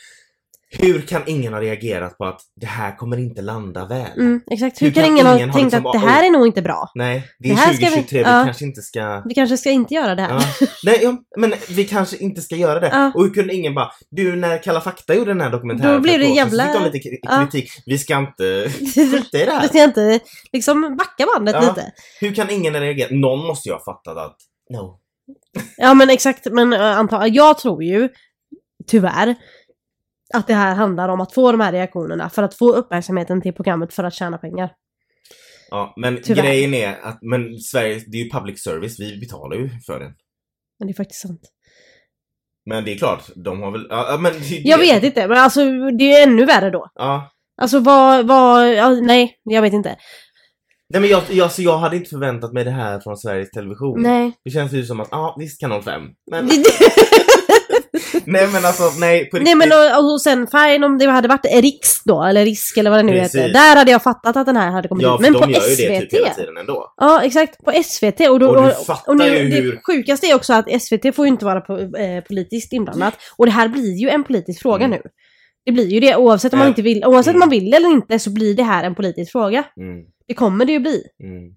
S2: Hur kan ingen ha reagerat på att det här kommer inte landa väl?
S1: Mm, exakt. Hur,
S2: Hur
S1: kan
S2: kan
S1: ingen ha
S2: ingen ha
S1: tänkt
S2: liksom
S1: att det
S2: bara,
S1: här är nog inte bra?
S2: Nej, det
S1: Det
S2: är
S1: här ska vi-
S2: 2023, vi,
S1: ja.
S2: kanske inte ska...
S1: Vi kanske ska inte göra det här.
S2: Ja. Nej, ja, men vi kanske inte ska göra det.
S1: Ja.
S2: Och hur kunde ingen bara, du när Kalla fakta gjorde den här dokumentären
S1: Då blev
S2: för ett
S1: det
S2: år sedan,
S1: jävla-
S2: Så fick de lite kri-
S1: Ja.
S2: kritik, vi
S1: [laughs]
S2: ska inte skita i det
S1: Vi
S2: här.
S1: ska inte liksom backa bandet
S2: Ja.
S1: lite.
S2: Hur kan ingen reagera? Någon måste ju ha fattat att, no.
S1: Ja men exakt, men eh, antagligen, jag tror ju tyvärr att det här handlar om att få de här reaktionerna för att få uppmärksamheten till programmet för att tjäna pengar.
S2: Ja, men
S1: Tyvärr.
S2: grejen är att, men Sverige, det är ju public service, vi betalar ju för den.
S1: Men det är faktiskt sant.
S2: Men det är klart, de har väl, ja ja, men... det-
S1: Jag vet inte, men alltså det är ännu värre då.
S2: Ja.
S1: Alltså vad, vad, ja, nej, jag vet inte.
S2: Mm. Nej men jag, jag, så jag hade inte förväntat mig det här från Sveriges Television.
S1: Nej.
S2: Det känns ju som att, ja visst kanal 5. Men
S1: Det- det-
S2: [laughs] nej men alltså, nej på
S1: Nej men och, och sen fine om det hade varit Riks då, eller Risk eller vad det nu heter.
S2: Precis.
S1: Där hade jag fattat att den här hade kommit
S2: ja,
S1: ut.
S2: för
S1: Men
S2: de
S1: på
S2: gör ju
S1: SVT.
S2: det typ hela tiden ändå.
S1: Ja exakt, på SVT. Och, då,
S2: Och du fattar ju
S1: det
S2: hur-
S1: sjukaste är också att SVT får ju inte vara po- eh, politiskt inblandat. Och det här blir ju en politisk fråga
S2: Mm.
S1: nu. Det blir ju det oavsett om man
S2: Ja.
S1: inte vill, oavsett om
S2: Mm.
S1: man vill eller inte så blir det här en politisk fråga.
S2: Mm,
S1: Det kommer det ju bli.
S2: mm.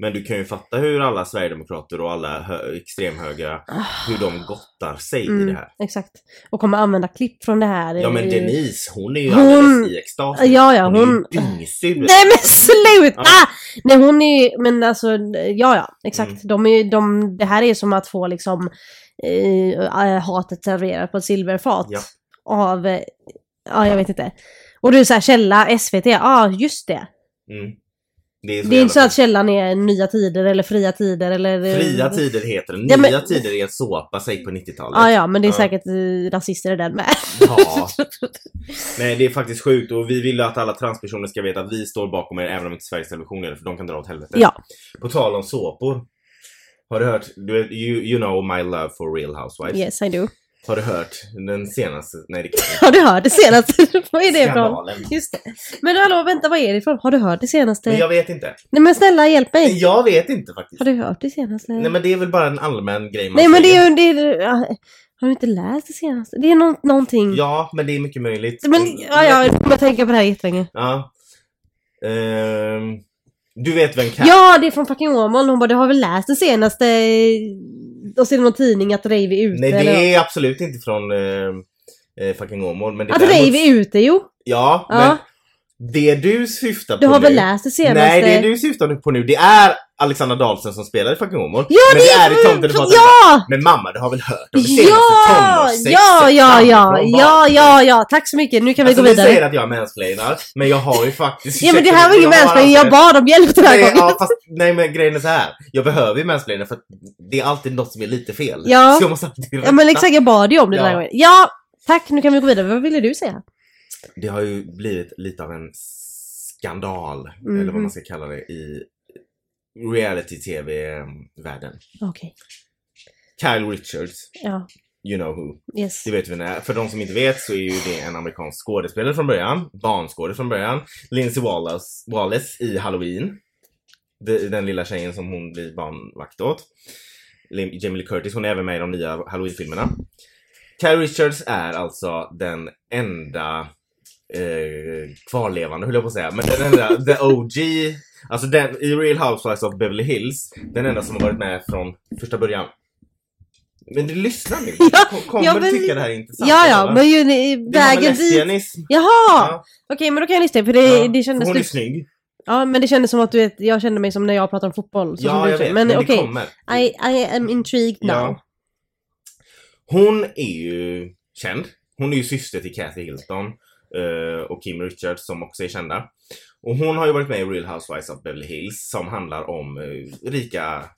S2: Men du kan ju fatta hur alla sverigedemokrater och alla hö- extremhögra, hur de gottar sig i det
S1: Ah. Mm,
S2: här.
S1: exakt. Och kommer använda klipp från det här.
S2: Ja men
S1: i-
S2: Denise, hon är ju
S1: Hon-
S2: alldeles i extas.
S1: Ja, ja,
S2: Hon är ju
S1: hon...
S2: dyngsur.
S1: Nej men sluta!
S2: Ja.
S1: Nej hon är ju, men alltså, ja ja, exakt.
S2: Mm.
S1: De är, ju- de, det här är som att få liksom eh, hatet serverat på ett silverfat.
S2: Ja.
S1: Av, eh, ja jag vet inte. Och du är såhär, källa SVT, ja just det.
S2: Mm. Det är,
S1: det är inte så
S2: jävla-
S1: att källan är Nya Tider eller Fria Tider eller... eh,
S2: Fria tider heter den.
S1: Ja,
S2: Nya
S1: men-
S2: tider är en såpa, säg på 90-talet.
S1: Ja ja, men det är
S2: Ja.
S1: säkert eh, rasister i den med.
S2: Ja. Nej det är faktiskt sjukt och vi vill ju att alla transpersoner ska veta att vi står bakom er även om inte Sveriges Television gör det för de kan dra åt helvete.
S1: Ja.
S2: På tal om såpor. Har du hört, du, vet, you, you know my love for real housewives.
S1: yes I do.
S2: Har du hört den senaste, nej det kan jag
S1: Har du hört det
S2: [laughs]
S1: senaste? vad är [laughs] det ifrån?
S2: Skandalen.
S1: Just det. Men hallå, vänta, vad är det ifrån? Har du hört det senaste?
S2: Men jag vet inte.
S1: Nej men snälla, hjälp mig.
S2: Jag vet inte faktiskt.
S1: Har du hört det senaste?
S2: Nej men alltså, det är väl bara en allmän grej man
S1: Nej, men det
S2: säger.
S1: är ju... Det är, ja, har du inte läst det senaste? Det är nå- någonting.
S2: Ja men det är mycket möjligt. Mm.
S1: Men ja, ja, jag kommer att tänka på det här jättelänge.
S2: Ja. Ehm, du vet vem Kat...
S1: Ja, det är från fucking Åmål. Hon bara, du har väl läst det senaste? eh, Och så är det någon tidning att Rave är ute.
S2: Nej
S1: eller...
S2: det är absolut inte från eh, eh, fucking Åmål. Men det
S1: Att
S2: däremot-
S1: Rave Alltså, är ute, jo.
S2: Ja,
S1: Ja.
S2: men det du syftar på
S1: Du har
S2: nu...
S1: väl läst det senaste?
S2: Nej, det du syftar på nu det är Alexandra Dahlsen som spelar i fucking Åmål.
S1: Ja,
S2: men det är i Tomten
S1: Ja!
S2: och Faten. Men mamma, du har väl hört om det senaste
S1: Ja!
S2: tonårssexet
S1: Ja, ja, ja,
S2: framifrån
S1: ja,
S2: barn?
S1: ja, ja, tack så mycket. Nu kan
S2: Alltså,
S1: vi gå
S2: Ni
S1: vidare.
S2: säger att jag mansplainar, men jag har ju faktiskt...
S1: Ja men det här var ingen
S2: har
S1: mansplaining,
S2: alltså-
S1: jag bad om hjälp den här
S2: Nej,
S1: gången.
S2: ja, fast, nej men grejen är så här. jag behöver ju mansplaina för att det är alltid något som är lite fel.
S1: Ja.
S2: Så jag måste alltid
S1: Ja men exakt, jag bad ju om det den här
S2: Ja.
S1: gången. Ja, tack, nu kan vi gå vidare. Vad ville du säga?
S2: Det har ju blivit lite av en skandal,
S1: Mhm.
S2: eller vad man ska kalla det, i reality-tv-världen.
S1: Okej,
S2: Kyle Richards,
S1: ja,
S2: you know who.
S1: yes.
S2: Det vet vi vem det är. För de som inte vet så är ju det en amerikansk skådespelare från början. Barnskådespelare från början. Lindsay Wallace, Wallace i Halloween. De- Den lilla tjejen som hon blir barnvakt åt. Lim- Jamie Lee Curtis, hon är även med i de nya Halloween-filmerna. Carrie Richards är alltså den enda eh, kvarlevande, höll jag på att säga. Men den enda, the OG. Alltså den, i Real Housewives of Beverly Hills, den enda som har varit med från första början. Men du lyssnar nu. Du
S1: Ja,
S2: kom- kommer
S1: ja, men-
S2: tycka det här är intressant.
S1: Ja, ja,
S2: eller?
S1: men ju ni-
S2: Det har med
S1: vägen dit.
S2: lesbianism.
S1: Jaha!
S2: Ja,
S1: Okej, men då kan jag lyssna för det,
S2: ja.
S1: det kändes
S2: Hon är
S1: lite...
S2: snygg.
S1: Ja, men det kändes som att du vet, jag kände mig som när jag pratar om fotboll. så som
S2: Ja,
S1: du
S2: jag
S1: säger.
S2: vet.
S1: Men,
S2: Men, det
S1: okej,
S2: kommer.
S1: I, I am intrigued now.
S2: Ja. Hon är ju känd. Hon är ju syster till Kathy Hilton eh, och Kim Richards som också är kända. Och hon har ju varit med i Real Housewives of Beverly Hills som handlar om eh, rika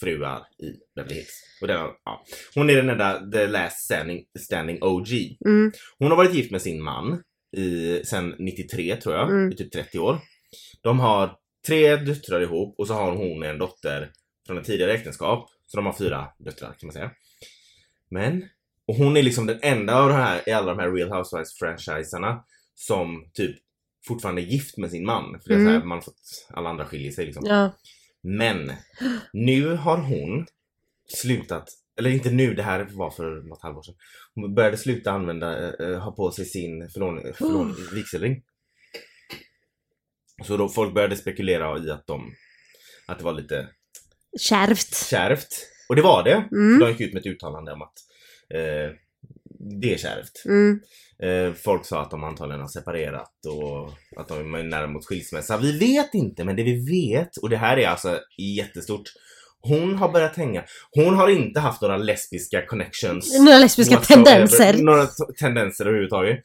S2: fruar i Beverly Hills. Och den, ja. Hon är den enda The Last Standing, standing OG.
S1: Mm.
S2: Hon har varit gift med sin man i, sen 93 tror jag,
S1: Mm.
S2: i typ 30 år. De har tre döttrar ihop och så har hon en dotter från ett tidigare äktenskap. Så de har fyra döttrar kan man säga. Men, och hon är liksom den enda av de här, i alla de här Real Housewives franchiserna som typ fortfarande är gift med sin man. För det är så här, man har fått, alla andra skiljer sig liksom.
S1: Ja.
S2: Men nu har hon slutat, eller inte nu, det här var för något halvår sedan. Hon började sluta använda, eh, eh, ha på sig sin förlån, förlån, vigselring. Så då folk började spekulera i att de, att det var lite
S1: Kärvt.
S2: kärvt. Och det var det.
S1: Mm.
S2: De gick ut med ett uttalande om att eh, det är kärvt.
S1: Mm.
S2: Eh, folk sa att de antagligen har separerat och att de är nära mot skilsmässa. Vi vet inte, men det vi vet, och det här är alltså jättestort. Hon har börjat hänga. Hon har inte haft några lesbiska connections.
S1: Några lesbiska
S2: whatsoever.
S1: tendenser.
S2: Några t- tendenser överhuvudtaget.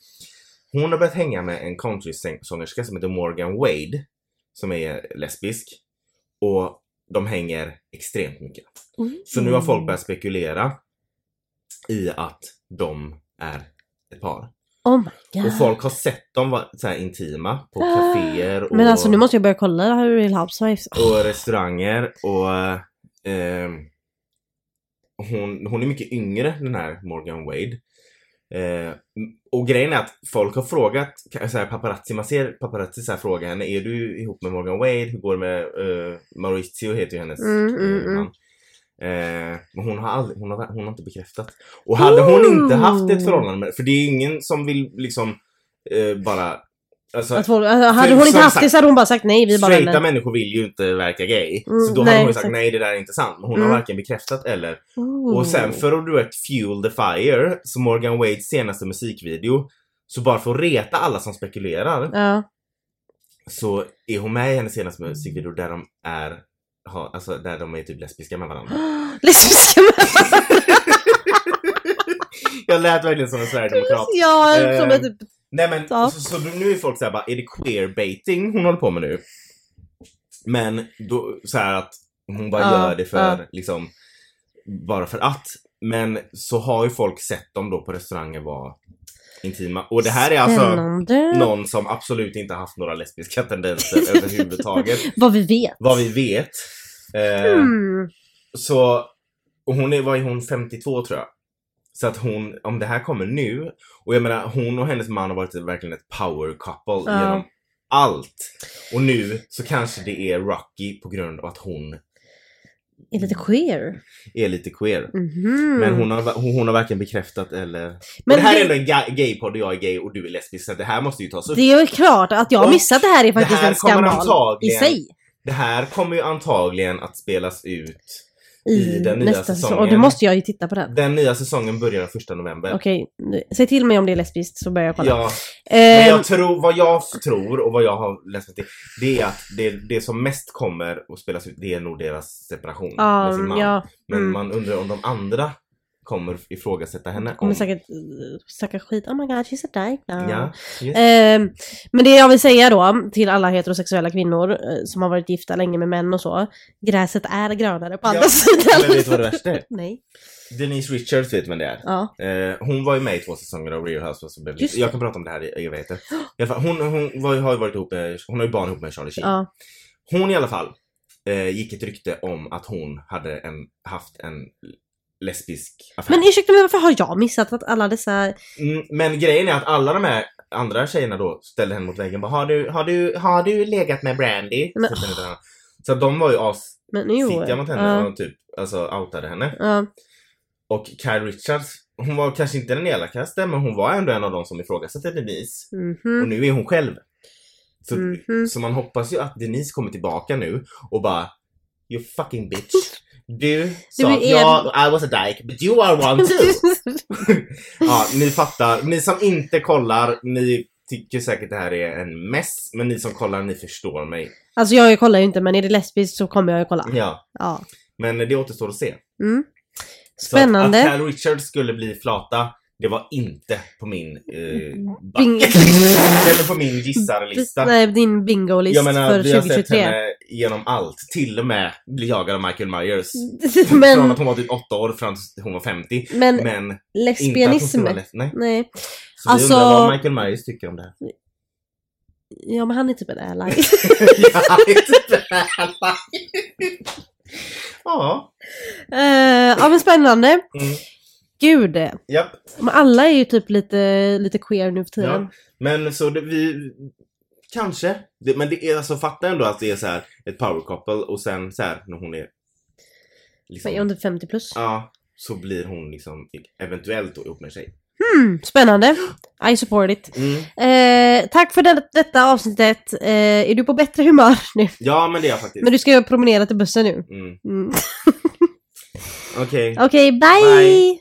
S2: Hon har börjat hänga med en countrysångerska som heter Morgan Wade. Som är lesbisk. Och de hänger extremt mycket. Mm. Så nu har
S1: Mm.
S2: folk börjat spekulera i att de är ett par.
S1: Oh my god.
S2: Och folk har sett dem vara så här intima på kaféer och,
S1: Men alltså nu måste jag börja kolla Real Housewives.
S2: och restauranger och ehm, eh, hon, hon är mycket yngre den här Morgan Wade. Eh, och grejen är att folk har frågat, så här, paparazzi, man ser paparazzi så här, fråga henne, är du ihop med Morgan Wade? Hur går det med eh, Maurizio heter ju hennes
S1: Mm, mm,
S2: eh,
S1: mm.
S2: man. Eh, men hon har, aldrig, hon, har, hon har inte bekräftat. Och hade hon inte haft ett
S1: Ooh.
S2: förhållande med för det är ingen som vill liksom eh, bara... Alltså,
S1: Att hon, alltså, hade
S2: För
S1: hon inte
S2: som
S1: haft det
S2: sagt,
S1: så hade hon bara sagt nej, vi bara
S2: straighta
S1: vänner.
S2: människor vill ju inte verka gay.
S1: Mm,
S2: så då
S1: nej,
S2: hade hon ju sagt
S1: exakt.
S2: nej det där är inte sant. Men hon
S1: Mm.
S2: har varken bekräftat eller
S1: Ooh.
S2: och sen för att du vet fuel the fire, så Morgan Wades senaste musikvideo, så bara för att reta alla som spekulerar
S1: Ja.
S2: så är hon med i hennes senaste musikvideo där de är, ha, alltså där de är typ lesbiska med varandra.
S1: [gasps] Lesbiska män!
S2: Jag lät verkligen som en sverigedemokrat.
S1: Ja,
S2: Eh,
S1: som är typ...
S2: Nej men
S1: Ja.
S2: så, så nu är folk såhär bara, är det queerbaiting hon håller på med nu? Men då så här att hon bara
S1: Ja,
S2: gör det för
S1: ja.
S2: liksom bara för att. Men så har ju folk sett dem då på restauranger vara intima. Och det här är alltså
S1: Spännande.
S2: någon som absolut inte haft några
S1: [laughs]
S2: lesbiska tendenser överhuvudtaget.
S1: Vad vi vet.
S2: Vad vi vet. Eh,
S1: Mm.
S2: så, och hon är, vad är hon, 52 tror jag. Så att hon, om det här kommer nu, och jag menar hon och hennes man har varit verkligen ett power couple
S1: Ja.
S2: genom allt. Och nu så kanske det är Rocky på grund av att hon
S1: Är lite queer.
S2: är lite queer.
S1: Mhm.
S2: Men hon har, hon, hon har varken bekräftat eller... Men
S1: Men
S2: det här är
S1: det-
S2: ändå en ga- gaypodd och jag är gay och du är lesbisk så det här måste ju tas upp.
S1: Det är ju klart att jag har
S2: Och
S1: missat det här är faktiskt
S2: det här
S1: en
S2: kommer
S1: skandal i
S2: antagligen
S1: sig.
S2: Det här kommer ju antagligen att spelas ut.
S1: I,
S2: i den nya
S1: nästa säsong.
S2: säsongen.
S1: Och då måste jag ju titta på den.
S2: Den nya säsongen börjar den 1 november.
S1: Okej, nu- säg till mig om det är lesbiskt så börjar jag kolla.
S2: Ja, Men
S1: Ehm,
S2: jag tror, vad jag tror och vad jag har läst mig till, det är att det, det som mest kommer att spelas ut, det är nog deras separation
S1: ja,
S2: med sin man.
S1: ja,
S2: Men
S1: mm.
S2: man undrar om de andra kommer ifrågasätta henne.
S1: kommer
S2: om-
S1: säkert eh, snacka skit. Oh my god, she's a dyke now.
S2: Ja, yes.
S1: Ehm, men det jag vill säga då till alla heterosexuella kvinnor eh, som har varit gifta länge med män och så. Gräset är grönare på
S2: Ja.
S1: andra sidan.
S2: Men
S1: [laughs]
S2: vet du vad det värsta är?
S1: Nej.
S2: Denise Richards vet vem det är.
S1: Ja.
S2: Eh, hon var ju med i två säsonger av Real Housewives of Beverly
S1: Just
S2: Hills.
S1: det.
S2: Jag kan prata om det här i, jag vet det. I alla fall, hon, hon var, ju- har ju varit ihop med, hon har ju barn ihop med Charlie Sheen.
S1: ja.
S2: Hon i alla fall eh, gick ett rykte om att hon hade en, haft en lesbisk affär.
S1: Men ursäkta mig, varför har jag missat att alla dessa...
S2: Mm, men grejen är att alla de här andra tjejerna då ställde henne mot väggen. Bara, har, du, har, du, har du legat med Brandy?
S1: Men-
S2: Så ställde de henne. Så de var ju assittiga
S1: Men jo.
S2: mot henne och typ alltså, outade henne.
S1: ja.
S2: Och Kyle Richards, hon var kanske inte den elakaste men hon var ändå en av de som ifrågasatte Denise.
S1: Mhm.
S2: Och nu är hon själv. Så,
S1: Mhm.
S2: så man hoppas ju att Denise kommer tillbaka nu och bara You fucking bitch. Du sa
S1: Du
S2: att
S1: är-
S2: jag, I was a dyke, but you
S1: [laughs]
S2: are one too. Ja, ni fattar. Ni som inte kollar, ni tycker säkert det här är en mess. Men ni som kollar, ni förstår mig.
S1: alltså jag kollar ju inte men är det lesbiskt så kommer jag ju kolla.
S2: Ja.
S1: Ja.
S2: Men det återstår att se.
S1: Mm.
S2: Så att-
S1: Spännande.
S2: Att Cal Richards skulle bli flata, det var inte på min... Eh,
S1: Bing-
S2: bucket. Eller på min gissarlista.
S1: Nej, din bingo-list
S2: Jag menar,
S1: för
S2: vi har sett
S1: 2023.
S2: henne genom allt. Till och med bli jagad av Michael Myers.
S1: [laughs] [laughs]
S2: Från
S1: men
S2: att hon var typ 8 år fram till hon var 50.
S1: men
S2: Men inte att hon
S1: lesbianism?
S2: skulle vara ledsen. Nej.
S1: Nej.
S2: Så vi
S1: Alltså-
S2: undrar vad Michael Myers tycker om det här.
S1: Ja men han är typ en ally.
S2: [laughs] ja, inte träna. [laughs] ja.
S1: Eh, ja men spännande.
S2: Mm.
S1: Gud.
S2: Japp.
S1: Men alla är ju typ lite, lite queer nu för tiden.
S2: Ja. Men så det, vi... Kanske. Det, men det är alltså fatta ändå att det är så här ett power couple och sen så här när hon är... Liksom,
S1: Men jag är typ 50 plus.
S2: Ja. Så blir hon liksom eventuellt då ihop med en tjej.
S1: Mm, spännande. I support it.
S2: Mm.
S1: Eh, tack för det, detta avsnittet. Eh, är du på bättre humör nu?
S2: Ja men det är jag faktiskt.
S1: Men du ska ju promenera till bussen nu.
S2: Mm.
S1: Mm.
S2: Okej.
S1: Okej, bye.
S2: Bye.